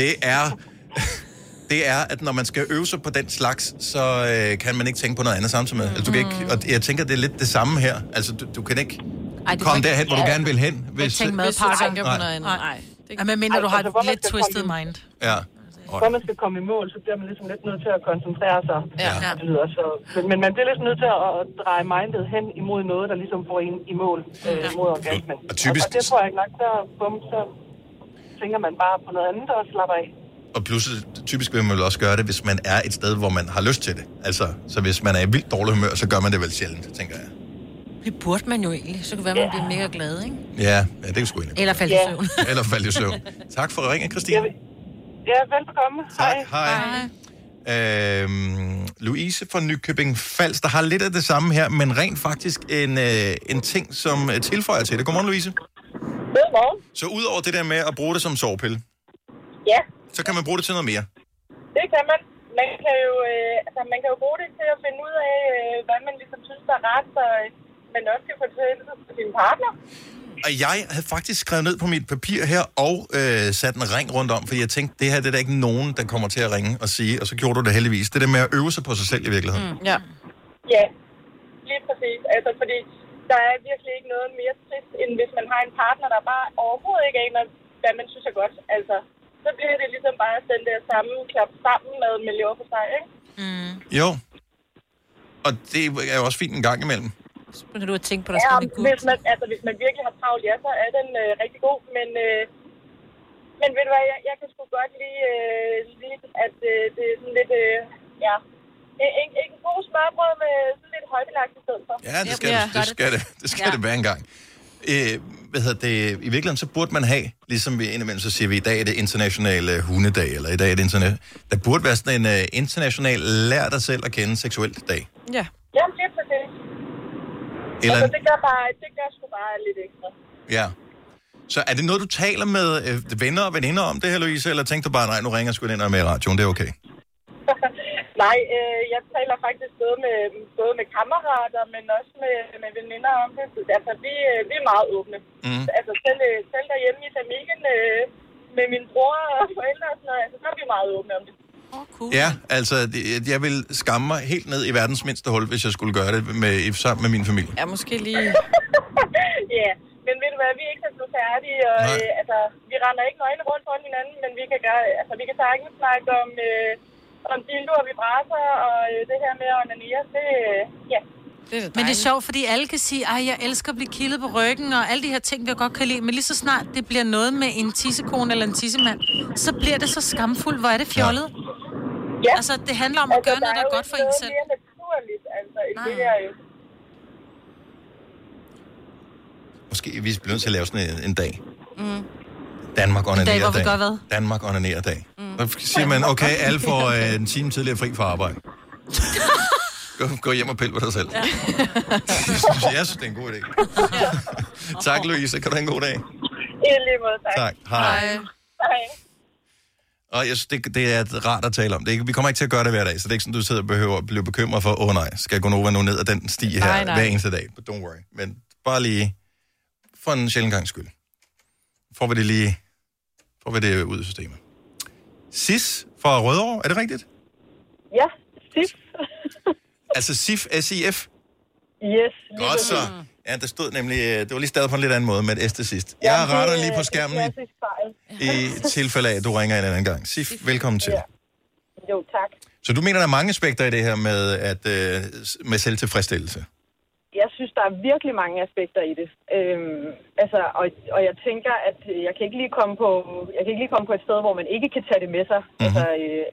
det er... Det er, at når man skal øve sig på den slags, så øh, kan man ikke tænke på noget andet samtidig med. Altså, du kan ikke, og jeg tænker, det er lidt det samme her. Altså, du, du kan ikke Ej, du Ej, du kan komme ikke- derhen, hvor du Ja. gerne vil hen. Hvis, tænk Nej. madpakker. Nej. Nej, nej. Ja, men mindre, du altså, altså, har et lidt twisted mind. Ja. Når man skal komme i mål, så bliver man ligesom lidt nødt til at koncentrere sig. Ja. Og Det lyder så. Men, men man bliver ligesom nødt til at dreje mindet hen imod noget, der ligesom får en i mål øh, mod orgasmen. Og typisk- og, og det tror jeg nok, så, bum, så tænker man bare på noget andet og slapper af. Og pludselig, typisk vil man vel også gøre det, hvis man er et sted, hvor man har lyst til det. Altså, så hvis man er i vildt dårlig humør, så gør man det vel sjældent, tænker jeg. Det burde man jo egentlig. Så kunne være, man bliver mega glad, ikke? Ja, ja det er sgu egentlig. Eller falde i søvn. Eller falde i søvn. Tak for ringen, Christine. Ja, velbekomme. Tak, hej. hej. Øhm, Louise fra Nykøbing Falster har lidt af det samme her, men rent faktisk en, øh, en ting, som øh, tilføjer til det. Godmorgen, Louise. Godmorgen. Så udover det der med at bruge det som sovepille, Ja, så kan man bruge det til noget mere. det kan man. Man kan jo, øh, altså, man kan jo bruge det til at finde ud af, øh, hvad man ligesom synes der er ret, så øh, man også kan fortælle det til sin partner. Og jeg havde faktisk skrevet ned på mit papir her og øh, sat en ring rundt om, fordi jeg tænkte, det her det er der ikke nogen, der kommer til at ringe og sige, og så gjorde du det heldigvis. Det der med at øve sig på sig selv i virkeligheden. Mm. Ja. Ja, lige præcis. Altså, fordi der er virkelig ikke noget mere trist, end hvis man har en partner, der bare overhovedet ikke aner, hvad man synes er godt. Altså, så bliver det ligesom bare den der samme klap sammen med miljø for sig, ikke? Jo. Og det er jo også fint en gang imellem. Så kan du at tænke på dig Ja, sådan en gut. hvis man, altså, hvis man virkelig har travlt, ja, så er den øh, rigtig god, men... Øh, men ved du hvad, jeg, jeg kan sgu godt lide, øh, lide at øh, det er sådan lidt, øh, ja, en, en, en god smørbrød med sådan lidt højbelagt i stedet for. Ja, det skal, ja, det, det skal, det, det, skal ja. det være engang. Øh, hvad hedder det, I virkeligheden, så burde man have, ligesom vi indimellem så siger vi, i dag er det internationale hundedag, eller i dag er det internet. Der burde være sådan en uh, international lær dig selv at kende seksuelt dag. Ja. Jamen, det er præcis. Eller, Altså, det gør, bare, det gør sgu bare lidt ekstra. ja. Så er det noget, du taler med øh, venner og veninder om det her, Louise? Eller tænkte du bare, nej, nu ringer jeg sgu ind og er med i radioen, det er okay? Nej, øh, jeg taler faktisk både med, både med kammerater, men også med, med veninder om det. Altså, vi, øh, vi er meget åbne. Mm. Altså, selv, øh, selv derhjemme i familien øh, med min bror og forældre og sådan noget, altså, så er vi meget åbne om det. Cool. Ja, altså, det- jeg vil skamme mig helt ned i verdens mindste hul, hvis jeg skulle gøre det med, sammen med min familie. Ja, måske lige... ja, men ved du hvad, vi er ikke så blevet færdige, og Nej. øh, altså, vi render ikke nøgne rundt foran hinanden, men vi kan, gøre, altså, vi kan sagtens snakke om, øh, om dildoer, vibrator og øh, det her med at onanere, det, øh, ja. Det men det er sjovt, fordi alle kan sige, at jeg elsker at blive kildet på ryggen, og alle de her ting, jeg godt kan lide. Men lige så snart det bliver noget med en tissekone eller en tissemand, så bliver det så skamfuldt. Hvor er det fjollet? Ja. Altså, det handler om at gøre noget, der er godt for en selv. Det er jo ikke noget mere naturligt, altså, end det Nej. her jo. Måske vi bliver nødt til at lave sådan en, en dag. Mm. Danmark En dag, hvor onanerer vi dag. gør hvad? Danmark onanerer dag. Mm. Så siger man, okay, alle får øh, en time tidligere fri fra arbejde. gå, gå hjem og pille ved dig selv. Ja. jeg synes, det er en god idé. tak, Louise. Kan du have en god dag? I lige måde, tak. Tak. Hej. Hej. Og jeg synes, det, det er rart at tale om. Det, er ikke- vi kommer ikke til at gøre det hver dag, så det er ikke sådan, du sidder og behøver at blive bekymret for, åh oh, nej, skal Gonova nu ned ad den sti her Nej, nej. hver eneste dag? But don't worry. Men bare lige, for en sjældent gang skyld, får vi det lige, får vi det ud af systemet. SIS fra Rødovre, er det rigtigt? Ja, SIF. Altså SIF, S-I-F? Yes. lige Godt så. præcis. Ja, der stod nemlig, øh, det var lige stadig på en lidt anden måde med et S til sidst. Jeg Ja, retter det, lige øh, på skærmen Det i, er klassisk fejl. i tilfælde af, at du ringer en anden gang. SIF, velkommen til. Jo, tak. Så du mener, der er mange aspekter i det her med, at, øh, s- med selvtilfredsstillelse? Jeg synes, der er virkelig mange aspekter i det. Øhm, altså, og, og jeg tænker, at øh, jeg kan, ikke lige komme på, jeg kan ikke lige komme på et sted, hvor man ikke kan tage det med sig. Mm-hmm. Altså, øh,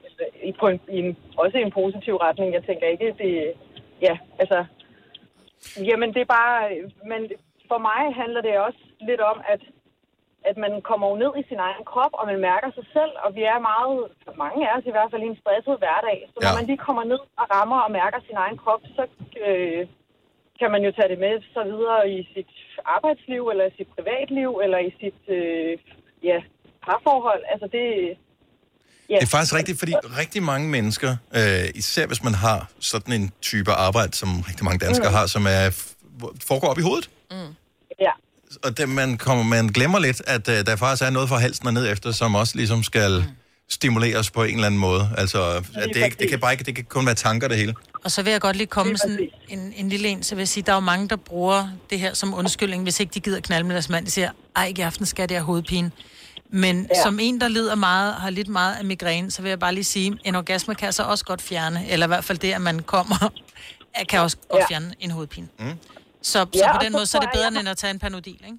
i, på en, i en, også i en positiv retning. Jeg tænker ikke, det... Ja, altså... Jamen, det er bare... Men for mig handler det også lidt om, at at man kommer jo ned i sin egen krop, og man mærker sig selv, og vi er meget, mange af os i hvert fald, i en stresset hverdag. Så når Ja. man lige kommer ned og rammer og mærker sin egen krop, så øh, kan man jo tage det med så videre i sit arbejdsliv, eller i sit privatliv, eller i sit øh, ja, parforhold. Altså det... Ja. Det er faktisk rigtigt, fordi rigtig mange mennesker, øh, især hvis man har sådan en type arbejde, som rigtig mange danskere Mm. mm. har, som er, f- hvor- foregår op i hovedet. Mm. Ja. Og det, man, kommer, man glemmer lidt, at øh, der faktisk er noget fra halsen og ned efter, som også ligesom skal stimuleres på en eller anden måde. Altså, at det, ikke, det, kan bare ikke, det kan kun være tanker, det hele. Og så vil jeg godt lige komme med sådan en, en lille en, så vil jeg sige, der er jo mange, der bruger det her som undskyldning, hvis ikke de gider knalde med deres mand. De siger, ej, ikke i aften skal det have hovedpine. Men ja. Ja. som en, der lider meget, har lidt meget af migræne, så vil jeg bare lige sige, en orgasme kan så også godt fjerne, eller i hvert fald det, at man kommer, kan også godt Ja. fjerne en hovedpine. Mm. Så, så Ja, ja, på og den så måde, så er det tror jeg, bedre, jeg- end at tage en panodil, ikke?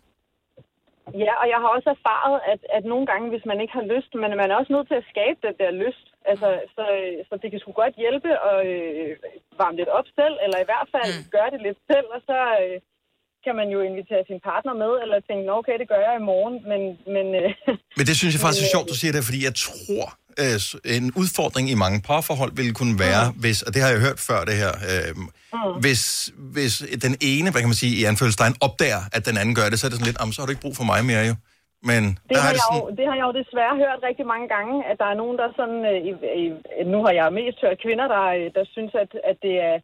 Ja, og jeg har også erfaret, at, at nogle gange, hvis man ikke har lyst, men man er også nødt til at skabe den der lyst. Altså, så, så det kan sgu godt hjælpe at øh, varme lidt op selv, eller i hvert fald mm. gøre det lidt selv, og så øh, kan man jo invitere sin partner med, eller tænke, "Nå, okay, det gør jeg i morgen, men... men øh, Men det synes jeg faktisk er Men, sjovt, du siger det, fordi jeg tror, øh, s- en udfordring i mange parforhold ville kunne Mm. være, hvis, og det har jeg hørt før det her, øh, hvis, hvis den ene, hvad kan man sige, i anfølgelsestegn, opdager, at den anden gør det, så er det sådan lidt, "Jamen, så har du ikke brug for mig mere jo. Men Det der har, er det jeg sådan, jo, det har jeg jo desværre hørt rigtig mange gange, at der er nogen, der sådan... Øh, i, i, nu har jeg mest hørt kvinder, der, øh, der synes, at, at det er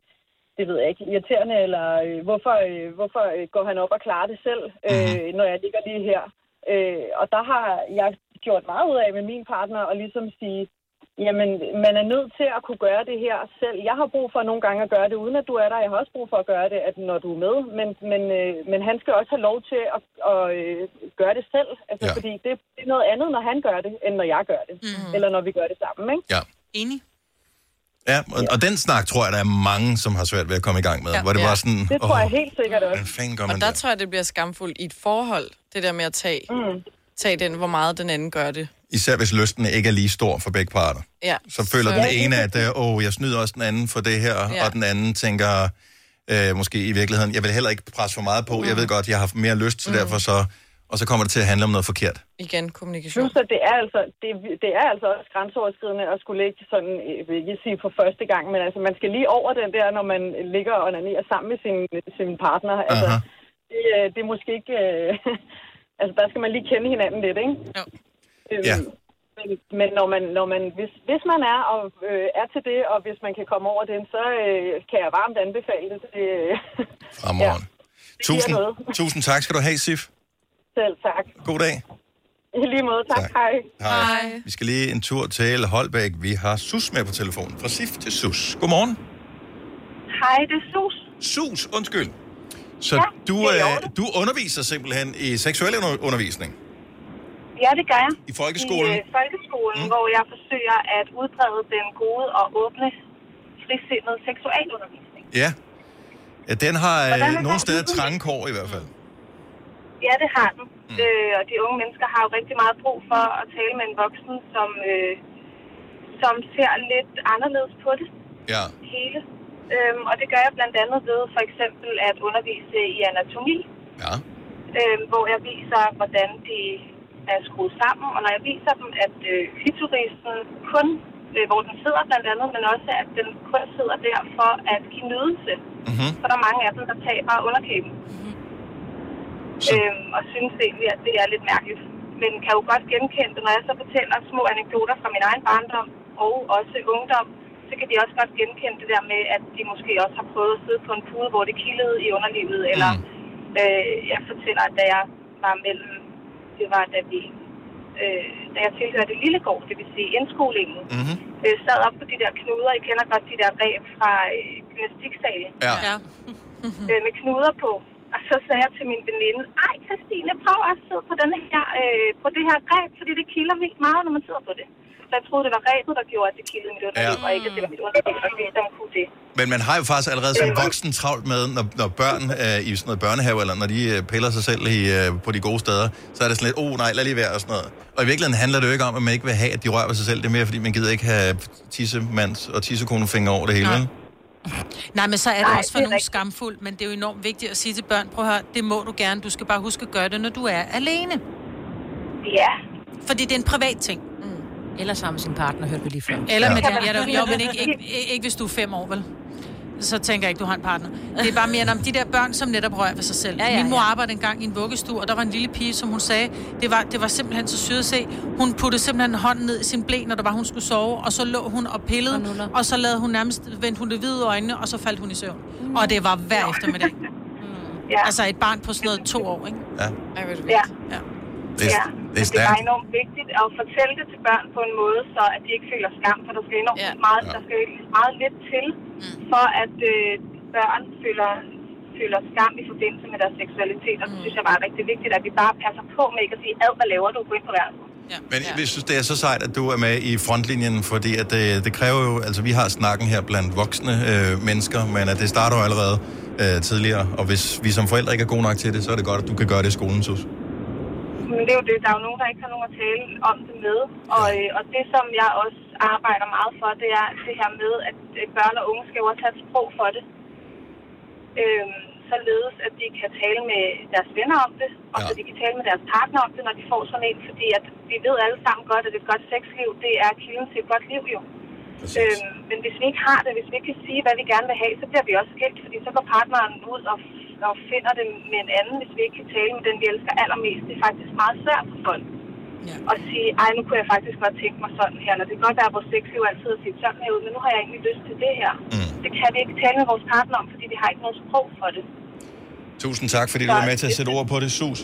det ved jeg ikke, irriterende, eller øh, hvorfor, øh, hvorfor øh, går han op og klarer det selv, øh, når jeg ligger lige her. Øh, og der har jeg gjort meget ud af med min partner at ligesom sige, jamen, man er nødt til at kunne gøre det her selv. Jeg har brug for nogle gange at gøre det, uden at du er der. Jeg har også brug for at gøre det, at når du er med. Men, men, øh, men han skal også have lov til at, at øh, gøre det selv. Altså, Ja. ja. Fordi det, det er noget andet, når han gør det, end når jeg gør det. Mm. Eller når vi gør det sammen, ikke? Ja. Enig. ja, og, og den snak tror jeg, der er mange, som har svært ved at komme i gang med, ja. hvor det bare sådan, det tror jeg helt sikkert også. hvad fanden gør Og man der der? tror jeg, det bliver skamfuldt i et forhold, det der med at tage, mm. tage den, hvor meget den anden gør det. Især hvis lysten ikke er lige stor for begge parter. Ja. Så føler den ene, at øh, åh, jeg snyder også den anden for det her, Ja. ja. og den anden tænker øh, måske i virkeligheden, jeg vil heller ikke presse for meget på, jeg ved godt, jeg har haft mere lyst, så Mm. derfor så, og så kommer det til at handle om noget forkert. Igen, kommunikation. Plus, at det er, altså, det, det er altså også grænseoverskridende at skulle ligge sådan, øh, vil ikke sige for første gang, men altså, man skal lige over den der, når man ligger og onanerer sammen med sin, sin partner. Altså, det, øh, det er måske ikke... øh, Altså, der skal man lige kende hinanden lidt, ikke? Jo. Øhm, Ja. Men, men når man, når man, hvis, hvis man er, og, øh, er til det, og hvis man kan komme over den, så øh, kan jeg varmt anbefale det. det øh, Fremragende. Det siger Tusind, noget. tusind tak skal du have, Sif. selv tak. God dag. I lige måde, tak. tak. Hej. Hej. Vi skal lige en tur til Holbæk. Vi har Sus med på telefonen. Fra Sif til Sus. Godmorgen. Hej, det er Sus. Sus, undskyld. Så Ja, du, det er i øh, du underviser simpelthen i seksuel under- undervisning. Ja, det gør jeg. I folkeskolen? I øh, folkeskolen, mm. hvor jeg forsøger at udbrede den gode og åbne frisindede seksualundervisning. Ja. ja den har Hvordan er øh, nogle den? steder trange kår i hvert fald. Ja, det har den. Mm. Øh, og de unge mennesker har jo rigtig meget brug for at tale med en voksen, som, øh, som ser lidt anderledes på det Ja. hele. Øhm, og det gør jeg blandt andet ved for eksempel at undervise i anatomi, Ja. øhm, hvor jeg viser, hvordan de er skruet sammen. Og når jeg viser dem, at øh, klitorisen kun, øh, hvor den sidder blandt andet, men også at den kun sidder der for at give nydelse. Mm-hmm. Så er der mange af dem, der taber underkæben. Øhm, og synes egentlig, at det er lidt mærkeligt. Men kan jo godt genkende det, når jeg så fortæller små anekdoter fra min egen barndom og også ungdom, så kan de også godt genkende det der med, at de måske også har prøvet at sidde på en pude, hvor det kildede i underlivet. Eller øh, jeg fortæller, at da jeg var mellem, det var da vi, øh, da jeg tilhørte Lillegård, det vil sige indskolingen, Mm-hmm. øh, sad op på de der knuder. I kender godt de der reb fra øh, gymnastiksalen. Ja. ja. øh, med knuder på. Og så sagde jeg til min veninde, ej Christine, prøv at sidde på, denne her, øh, på det her reb, fordi det kilder vildt meget, når man sidder på det. Så jeg troede, det var rebet, der gjorde, at det kildede mit underliv, Ja. og ikke at det var mit underliv, der vidste, om kunne det. Men man har jo faktisk allerede som voksen travlt med, når, når børn øh, i sådan noget børnehave, eller når de øh, piller sig selv i, øh, på de gode steder, så er det sådan lidt, oh nej, lad lige være og sådan noget. Og i virkeligheden handler det jo ikke om, at man ikke vil have, at de rører ved sig selv. Det er mere, fordi man gider ikke have tissemands og tissekonefingre over det hele. vel? Nej, men så er det Nej, også for det er nogen skamfuldt, men det er jo enormt vigtigt at sige til børn, prøv at høre, det må du gerne, du skal bare huske at gøre det, når du er alene. Ja. Fordi det er en privat ting. Mm. Eller sammen med sin partner, hørte vi lige før. Eller med Ja. ja. den, ja, jo, men ikke, ikke, ikke, ikke hvis du er fem år, vel? Så tænker jeg ikke, du har en partner. Det er bare mere om de der børn, som netop rører ved sig selv. Ja, ja, Min mor arbejdede engang i en vuggestue, og der var en lille pige, som hun sagde, det var, det var simpelthen så syret at se. Hun puttede simpelthen hånden ned i sin blæ, når der var, hun skulle sove, og så lå hun og pillede, og, og så lavede hun nærmest, vendte hun det hvide ud af øjnene, og så faldt hun i søvn. Mm. Og det var hver eftermiddag. Mm. Ja. Altså et barn på sådan noget to år, ikke? Ja. Ja. ja. Det er- det er ja. Men det er bare stærkt. enormt vigtigt at fortælle det til børn på en måde, så at de ikke føler skam, for der skal enormt ja. meget, der skal meget lidt til, for at øh, børn føler, føler skam i forbindelse med deres seksualitet. Og det synes jeg bare er rigtig vigtigt, at vi bare passer på med ikke at sige, ad, hvad laver du på ind på værelset. Men ja. jeg synes, det er så sejt, at du er med i frontlinjen, fordi at det, det kræver jo, altså vi har snakken her blandt voksne øh, mennesker, men at det starter jo allerede øh, tidligere, og hvis vi som forældre ikke er gode nok til det, så er det godt, at du kan gøre det i skolen, Sus. Men det er jo det, der er jo nogen, der ikke har nogen at tale om det med. Og, øh, og det, som jeg også arbejder meget for, det er det her med, at øh, børn og unge skal jo også have et sprog for det. Øh, således, at de kan tale med deres venner om det, og ja. så de kan tale med deres partner om det, når de får sådan en. Fordi at vi ved alle sammen godt, at et godt sexliv, det er kilden til et godt liv jo. Øh, men hvis vi ikke har det, hvis vi ikke kan sige, hvad vi gerne vil have, så bliver vi også skilt, fordi så går partneren ud og, og finder det med en anden, hvis vi ikke kan tale med den, vi elsker allermest. Det er faktisk meget svært for folk ja. at sige, ej, nu kunne jeg faktisk godt tænke mig sådan her, eller det kan godt være, at vores sexliv altid har set sådan her ud, men nu har jeg egentlig lyst til det her. Mm. Det kan vi ikke tale med vores partner om, fordi vi har ikke noget sprog for det. Tusind tak, fordi du Tak. var med til at sætte ord på det, Sus.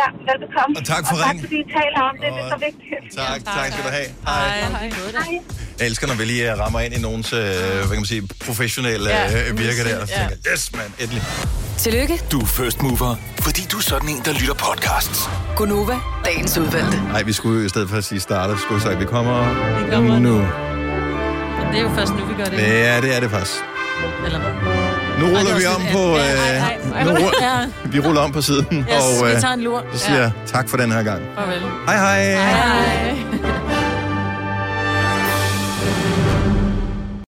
Ja, velbekomme. Og tak for og tak ringen. fordi I taler om det, det er så vigtigt. Tak, tak, tak skal du have. Hej. Hej. Jeg elsker, når vi lige øh, rammer ind i nogens, øh, hvad kan man sige, professionelle Ja, øh, virke der. musik, Og så ja. tænker, jeg, yes, mand, endelig. Tillykke, Du er first mover, fordi du er sådan en, der lytter podcasts. Gunova, dagens udvalgte. Nej, vi skulle jo i stedet for at sige starter, skulle vi sige, vi kommer, vi kommer nu. Men det er jo først nu, vi gør det. Ja, det er det faktisk. Eller hvad? Nu Ej, det ruller var vi om sådan, på... ja, ej, ej, ej. øh, Nu ruller, vi ruller om på siden, Yes, og øh, vi tager en lur. så siger Ja. jeg tak for den her gang. Farvel. Hej hej! Hej.